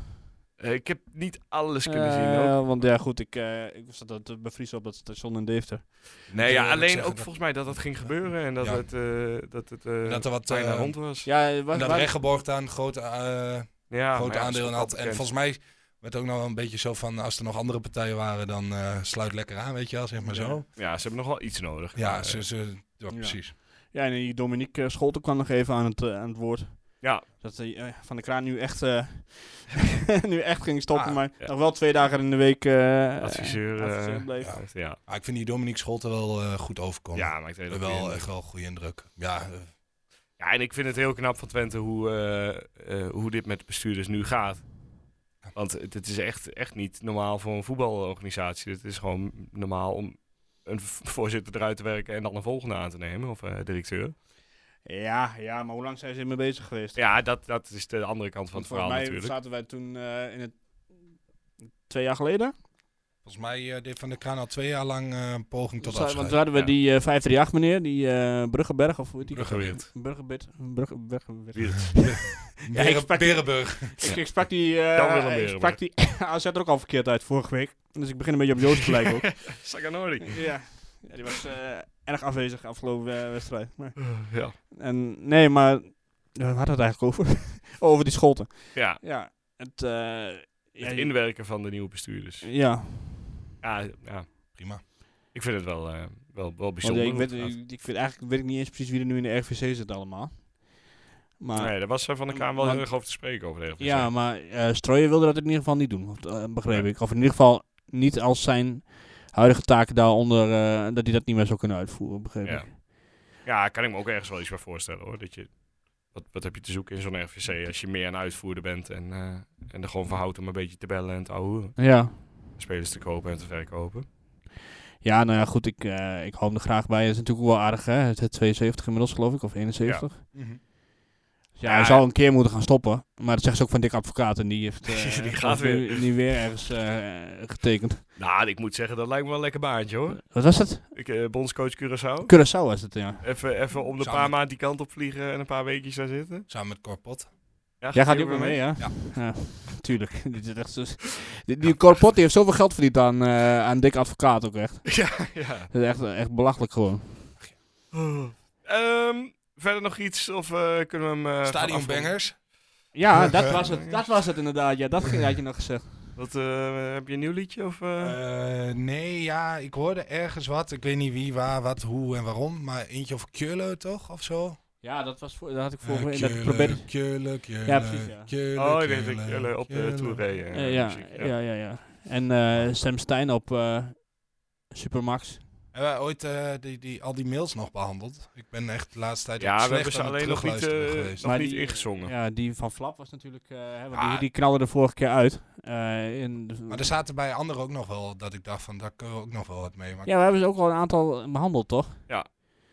S1: Eh, ik heb niet alles kunnen zien.
S5: Eh,
S1: Ook.
S5: Want ja, goed, ik, eh, ik zat dat te bevriezen op dat station in Deventer.
S1: Nee, ja,
S4: eerlijk
S1: alleen ook
S4: zeggen dat-
S1: volgens mij dat dat ging gebeuren en dat
S4: Ja.
S1: het, eh, dat het eh,
S4: Dat er wat,
S1: bijna
S4: eh,
S1: rond was.
S5: Ja, eh,
S4: En
S5: waar,
S4: dat
S5: waar-
S4: Regenborg daar een groot, eh,
S1: Ja,
S4: groot
S1: maar ja, dat is
S4: aandeel
S1: toch
S4: in
S1: wel
S4: had. En
S1: bekend.
S4: volgens mij werd ook nog wel een beetje zo van, als er nog andere partijen waren, dan eh, sluit lekker aan, weet je wel, zeg maar zo.
S1: Ja, ze hebben nog wel iets nodig.
S4: Ja,
S1: Eh,
S4: ze, ze, ja, precies.
S5: ja, en die Dominique eh, Scholten kwam nog even aan het, eh, aan het woord.
S1: Ja.
S5: Dat hij eh, van de kraan nu echt, eh, *laughs* nu echt ging stoppen,
S4: Ah,
S5: maar
S1: ja.
S5: nog wel twee dagen in de week eh,
S1: adviseur.
S5: eh, adviseur
S1: eh,
S5: bleef.
S4: ja.
S1: ja.
S4: Maar ik vind die Dominique Scholten wel eh, goed overkomen.
S1: ja, maakt heel
S4: wel echt wel een goede indruk. Ja, eh,
S1: Ja, en ik vind het heel knap van Twente hoe, eh, eh, hoe dit met de bestuurders nu gaat. Want het het is echt, echt niet normaal voor een voetbalorganisatie. Het is gewoon normaal om een v- voorzitter eruit te werken en dan een volgende aan te nemen, of eh, directeur.
S5: Ja, ja, maar hoe lang zijn ze ermee bezig geweest?
S1: Ja, dat, dat is de andere kant van het
S5: Want volgens
S1: verhaal
S5: mij
S1: natuurlijk.
S5: zaten wij toen eh, in het... Twee jaar geleden?
S4: volgens mij eh, deed Van der Kraan al twee jaar lang eh, een poging tot
S5: Za- want
S4: afscheid.
S5: toen hadden we
S1: ja.
S5: die eh, 538 meneer, die eh Bruggeberg, of hoe heet die?
S1: Bruggeweert.
S5: Bruggebit. Brugge- Bruggeweert.
S4: Beren-
S5: Ja, ik sprak-
S4: Berenburg.
S5: Ik, ik sprak die, eh,
S1: Dan Willem
S5: ik
S1: Berenburg.
S5: sprak die *laughs* AZ er ook al verkeerd uit vorige week. Dus ik begin een beetje op *laughs* Joost te
S1: *laughs*
S5: lijken ook.
S1: Saganori.
S5: ja. ja, die was eh, erg afwezig afgelopen eh, wedstrijd. Maar,
S1: Ja.
S5: en, nee, maar we hadden het eigenlijk over. *laughs* Oh, over die scholten.
S1: ja,
S5: Ja, het... eh, ja,
S1: het inwerken van de nieuwe bestuurders.
S5: ja,
S1: Ja, ja.
S4: Prima.
S1: ik vind het wel, eh, wel, wel
S5: want
S1: bijzonder.
S5: ja, ik,
S1: hoe
S5: weet,
S1: het gaat.
S5: ik, ik weet eigenlijk weet ik niet eens precies wie er nu in de RVC zit allemaal. Maar,
S1: nee, daar was eh, Van de Kraan wel
S5: Maar-
S1: heel erg over te spreken. Over de RVC.
S6: Ah. Ja, maar eh Strooijen wilde dat in ieder geval niet doen, of, eh, begreep ik. Of in ieder geval niet als zijn huidige taken daaronder, eh, dat hij dat niet meer zou kunnen uitvoeren, begreep
S1: Ja.
S6: ik.
S1: Ja, kan ik me ook ergens wel iets bij voorstellen hoor. Dat je, wat, wat heb je te zoeken in zo'n RVC als je meer een uitvoerder bent en, eh, en er gewoon van houdt om een beetje te bellen en te ouwen.
S6: Ja.
S1: Spelers te kopen en te verkopen.
S6: Ja, nou ja, goed, ik, eh, ik hou hem er graag bij. Het is natuurlijk ook wel aardig, hè? Het het 72 inmiddels, geloof ik, of 71. Ja,
S1: Mhm. Ja,
S6: hij zou een keer moeten gaan stoppen. Maar dat zegt ze ook van Dick Advocaat en die
S1: *laughs*
S6: heeft... eh,
S1: Die gaat
S6: nu-
S1: weer.
S6: nu weer ergens eh, getekend.
S1: Nou, ik moet zeggen, dat lijkt me wel een lekker baantje hoor.
S6: Wat was het?
S1: Ik, eh, bondscoach Curaçao.
S6: Curaçao was het, ja.
S1: Even, even om de
S4: Zou
S1: paar
S4: ik-
S1: maanden die kant op vliegen en een paar weekjes daar zitten.
S4: Samen met
S1: Eh,
S4: Corpot.
S6: Jij gaat
S1: je
S6: die ook weer mee, ja?
S4: Ja.
S6: tuurlijk. *laughs* Dit is echt zo... Die, die Corpot die heeft zoveel geld verdiend aan, eh aan Dick Advocaat ook echt.
S1: *laughs* ja, ja.
S6: Dat is echt, echt belachelijk gewoon.
S1: Ehm, verder nog iets of eh, kunnen we hem... eh, gaan
S4: Stadion
S1: afronden?
S4: Bangers.
S6: Ja, dat was het. Dat was het inderdaad. Ja, dat ging, had je nog gezegd.
S1: Dat, eh, heb je een nieuw liedje? Of, eh?
S4: Eh, nee, ja, ik hoorde ergens wat. Ik weet niet wie, waar, wat, hoe en waarom. Maar eentje over Keulen toch, of
S1: Eh,
S4: zo?
S5: Ja, dat was voor, dat had ik
S4: Eh,
S5: vorige week.
S4: Keulen,
S5: probeerde...
S4: Keulen, Keulen,
S5: Ja, precies, ja.
S4: Keulen,
S1: oh, ik weet dat ik eh, op de
S4: Keulen.
S1: tour reed. eh,
S5: Eh, ja,
S1: muziek,
S5: ja, ja, ja. En eh Sam Stein op eh, Supermax.
S4: Hebben wij ooit eh, die, die, al die mails nog behandeld? Ik ben echt de laatste tijd
S1: Ja,
S4: slecht
S1: we hebben ze
S4: aan het
S1: alleen nog niet,
S4: terugluisteren
S1: eh,
S4: geweest.
S1: nog
S5: Maar
S1: niet
S5: die-
S1: ingezongen.
S5: Ja, die van Flap was natuurlijk... eh, hè, want
S4: Ah.
S5: die, die knalde er vorige keer uit. Eh, in de-
S4: Maar er zaten bij anderen ook nog wel dat ik dacht van, daar kunnen we ook nog wel wat mee. Maar
S5: Ja, we hebben ze ook al een aantal behandeld, toch?
S1: Ja,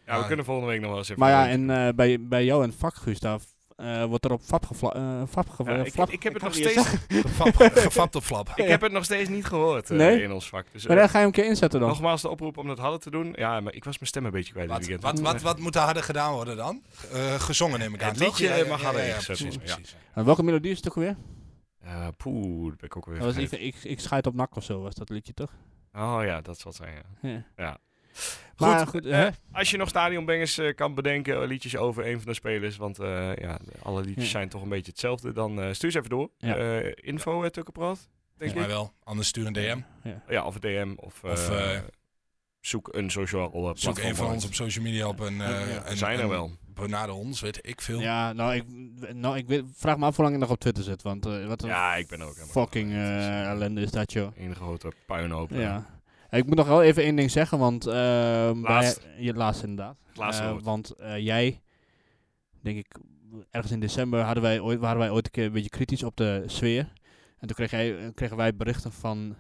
S1: we
S4: Ja.
S1: kunnen volgende week nog wel eens even...
S5: Maar ja, en eh, bij, bij jou en Vak, Gustav, eh, wordt er op Fap gefla- eh, Fap ge-
S1: Ja,
S5: eh,
S1: ik,
S5: flap.
S1: ik heb het
S7: kan
S1: nog
S7: niet eens
S1: steeds... *laughs*
S4: gefapt, gefapt op flap.
S1: Ik heb het nog steeds niet gehoord eh,
S5: Nee?
S1: in ons vak. Dus, eh,
S5: Maar daar ga je hem een keer inzetten dan.
S1: nogmaals de oproep om dat hadden te doen. Ja, maar ik was mijn stem een beetje kwijt
S4: Wat,
S1: dit weekend.
S4: wat, wat, wat moet er harder gedaan worden dan? Eh, gezongen neem ik aan.
S1: Het
S4: toch?
S1: liedje,
S4: Ja, ja,
S1: eh, mag
S4: ja,
S1: harder
S4: ja, ja,
S1: ingezet
S4: precies,
S1: worden, ja.
S4: precies.
S5: En Eh, welke melodie is het ook weer?
S1: Eh, poeh, dat ben ik ook weer
S5: Dat was
S1: vergeten.
S5: even, ik, ik scheid op nak of zo, was dat liedje toch?
S1: Oh ja, dat zal het zijn, ja.
S5: Ja.
S1: Ja.
S5: Maar
S1: Goed,
S5: goed,
S1: eh,
S5: hè?
S1: Als je nog stadionbangers eh, kan bedenken, eh, liedjes over een van de spelers, want eh, ja, alle liedjes
S5: Ja.
S1: zijn toch een beetje hetzelfde, dan eh, stuur ze even door.
S5: Ja.
S1: Eh, info, eh, Tukkenpraat, denk
S4: Volgens
S1: ik.
S4: mij wel. Anders stuur een DM.
S1: Ja, of een DM, of, eh,
S4: Of, eh,
S1: zoek een social eh,
S4: Zoek
S1: platform
S4: een van
S1: uit.
S4: ons op social media op een... eh,
S5: Ja,
S1: Er
S4: een-
S1: zijn er
S4: een-
S1: wel.
S4: Benade ons, weet ik veel.
S5: Ja, nou ik, nou, ik weet, vraag me af hoe lang ik nog op Twitter zit, want eh, wat een
S1: Ja, ik ben ook helemaal...
S5: fucking eh, ellende is dat, joh.
S1: Een grote puinhoop.
S5: Ja.
S1: eh.
S5: Eh, Ik moet nog wel even één ding zeggen, want... eh,
S1: Laatst.
S5: bij- je laatst inderdaad.
S1: Het laatste
S5: Eh,
S1: woord.
S5: want eh, jij, denk ik, ergens in december hadden wij ooit, waren wij ooit een keer een beetje kritisch op de sfeer. En toen kreeg jij, eh, kregen wij berichten van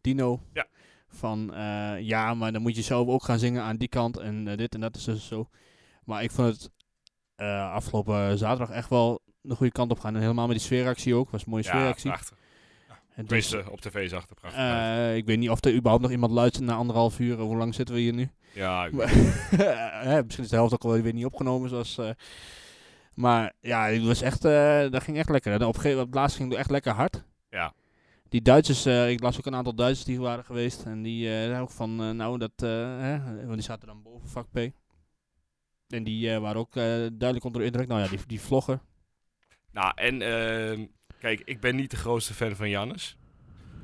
S5: Dino.
S1: Ja.
S5: Van eh, ja, maar dan moet je zelf ook gaan zingen aan die kant en eh, dit en dat is dus zo. Maar ik vond het eh, afgelopen zaterdag echt wel de goede kant op gaan. En helemaal met die sfeeractie ook. Was een mooie
S1: ja,
S5: sfeeractie.
S1: prachtig.
S5: En dus,
S1: Tenminste, op tv zag het er prachtig uit.
S5: eh, ik weet niet of er überhaupt nog iemand luistert na anderhalf uur. Hoe lang zitten we hier nu?
S1: Ja, ik-
S5: Maar- *laughs* Hè, misschien is de helft ook alweer weer niet opgenomen. Zoals, eh, maar ja, het was echt, eh, dat ging echt lekker. En op, een gegeven- op het laatst ging het echt lekker hard.
S1: Ja.
S5: Die Duitsers, eh, ik las ook een aantal Duitsers die waren geweest. En die eh, zeiden ook van, eh, nou, dat, eh, hè, want die zaten dan boven vak P. En die eh, waren ook eh, duidelijk onder de indruk. Nou ja, die, die vlogger.
S1: nou, en ehm, kijk, ik ben niet de grootste fan van Jannes.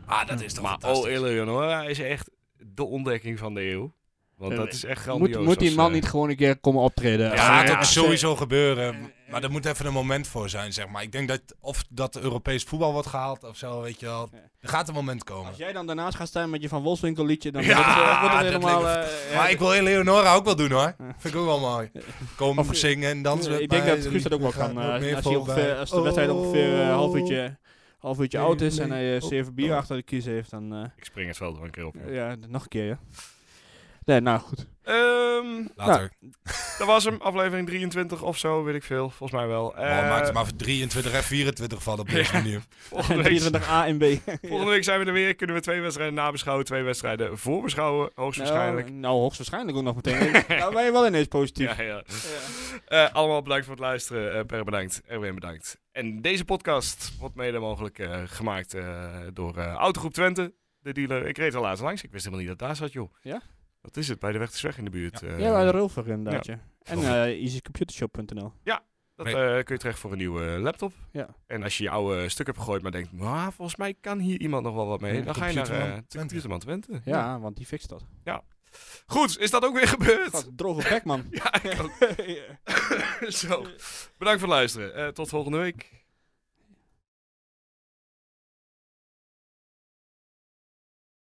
S4: Ah, dat is toch
S1: Maar
S4: fantastisch.
S1: oh, Eleonora is echt de ontdekking van de eeuw. Want
S5: Eh,
S1: dat is echt grandioos.
S5: Moet, moet die
S1: als,
S5: man
S1: eh,
S5: niet gewoon een keer komen optreden?
S1: Ja,
S4: Dat gaat
S1: ja,
S4: ook
S1: ja.
S4: sowieso gebeuren. Maar er moet even een moment voor zijn, zeg maar. Ik denk dat of dat Europees voetbal wordt gehaald of zo, weet je wel. Er gaat een moment komen.
S5: Als jij dan daarnaast gaat staan met je Van Wolfswinkel liedje, dan
S1: Ja,
S5: wordt het, eh, wordt het
S4: dat
S5: helemaal...
S4: lijkt
S5: eh,
S4: Maar
S5: eh,
S4: ik wil Eleonora ook wel doen hoor. Vind ik ook wel mooi. Komen
S5: Of-
S4: zingen en dansen.
S5: Eh,
S4: met
S5: ik denk
S4: mij.
S5: dat Guus dat ook wel
S4: Gaat
S5: kan.
S4: nog
S5: eh,
S4: meer
S5: als, hij
S4: voorbij.
S5: ongeveer, als de wedstrijd ongeveer eh, een half uurtje, half uurtje
S4: Nee,
S5: oud is en
S4: nee,
S5: hij eh,
S4: oh,
S5: zeven bier
S4: oh.
S5: achter de kies heeft, dan eh,
S1: Ik spring het veld wel een keer op. joh.
S5: ja, d- nog een keer, ja. Nee, nou *laughs* goed.
S1: Ehm,
S4: Later.
S1: dat was hem. Aflevering 23 of zo, weet ik veel. Volgens mij wel. Eh,
S4: oh, maakt er maar voor 23 en 24 van op deze manier.
S5: *laughs*
S1: volgende, week,
S5: 23 A en B.
S1: volgende week zijn we er weer. Kunnen we twee wedstrijden nabeschouwen, twee wedstrijden voorbeschouwen, hoogstwaarschijnlijk.
S5: Nou, nou, hoogstwaarschijnlijk ook nog meteen. *laughs* nou, ben je wel ineens positief.
S1: Ja, ja. Eh, allemaal bedankt voor het luisteren. Eh, per bedankt. Erwin bedankt. En deze podcast wordt mede mogelijk eh, gemaakt eh, door eh, Autogroep Twente. De dealer. Ik reed al laatst langs. Ik wist helemaal niet dat daar zat, joh.
S5: Ja?
S1: Dat is het, bij de weg is weg in de buurt. eh.
S5: Ja, bij de Rulver inderdaad, ja. En eh easycomputershop.nl.
S1: dat eh, kun je terecht voor een nieuwe laptop.
S5: Ja.
S1: En als je je oude eh, stuk hebt gegooid, maar denkt, "Maar volgens mij kan hier iemand nog wel wat mee.
S5: Ja,
S1: dan ga je naar eh
S4: Computerman
S1: de
S4: Twente.
S1: computerman Twente.
S5: ja, want die fixt dat.
S1: Goed, is dat ook weer gebeurd?
S5: Wat een droge *laughs* bek, man.
S1: *laughs* Ja, ik ook. Zo. Bedankt voor het luisteren. Eh, tot volgende week.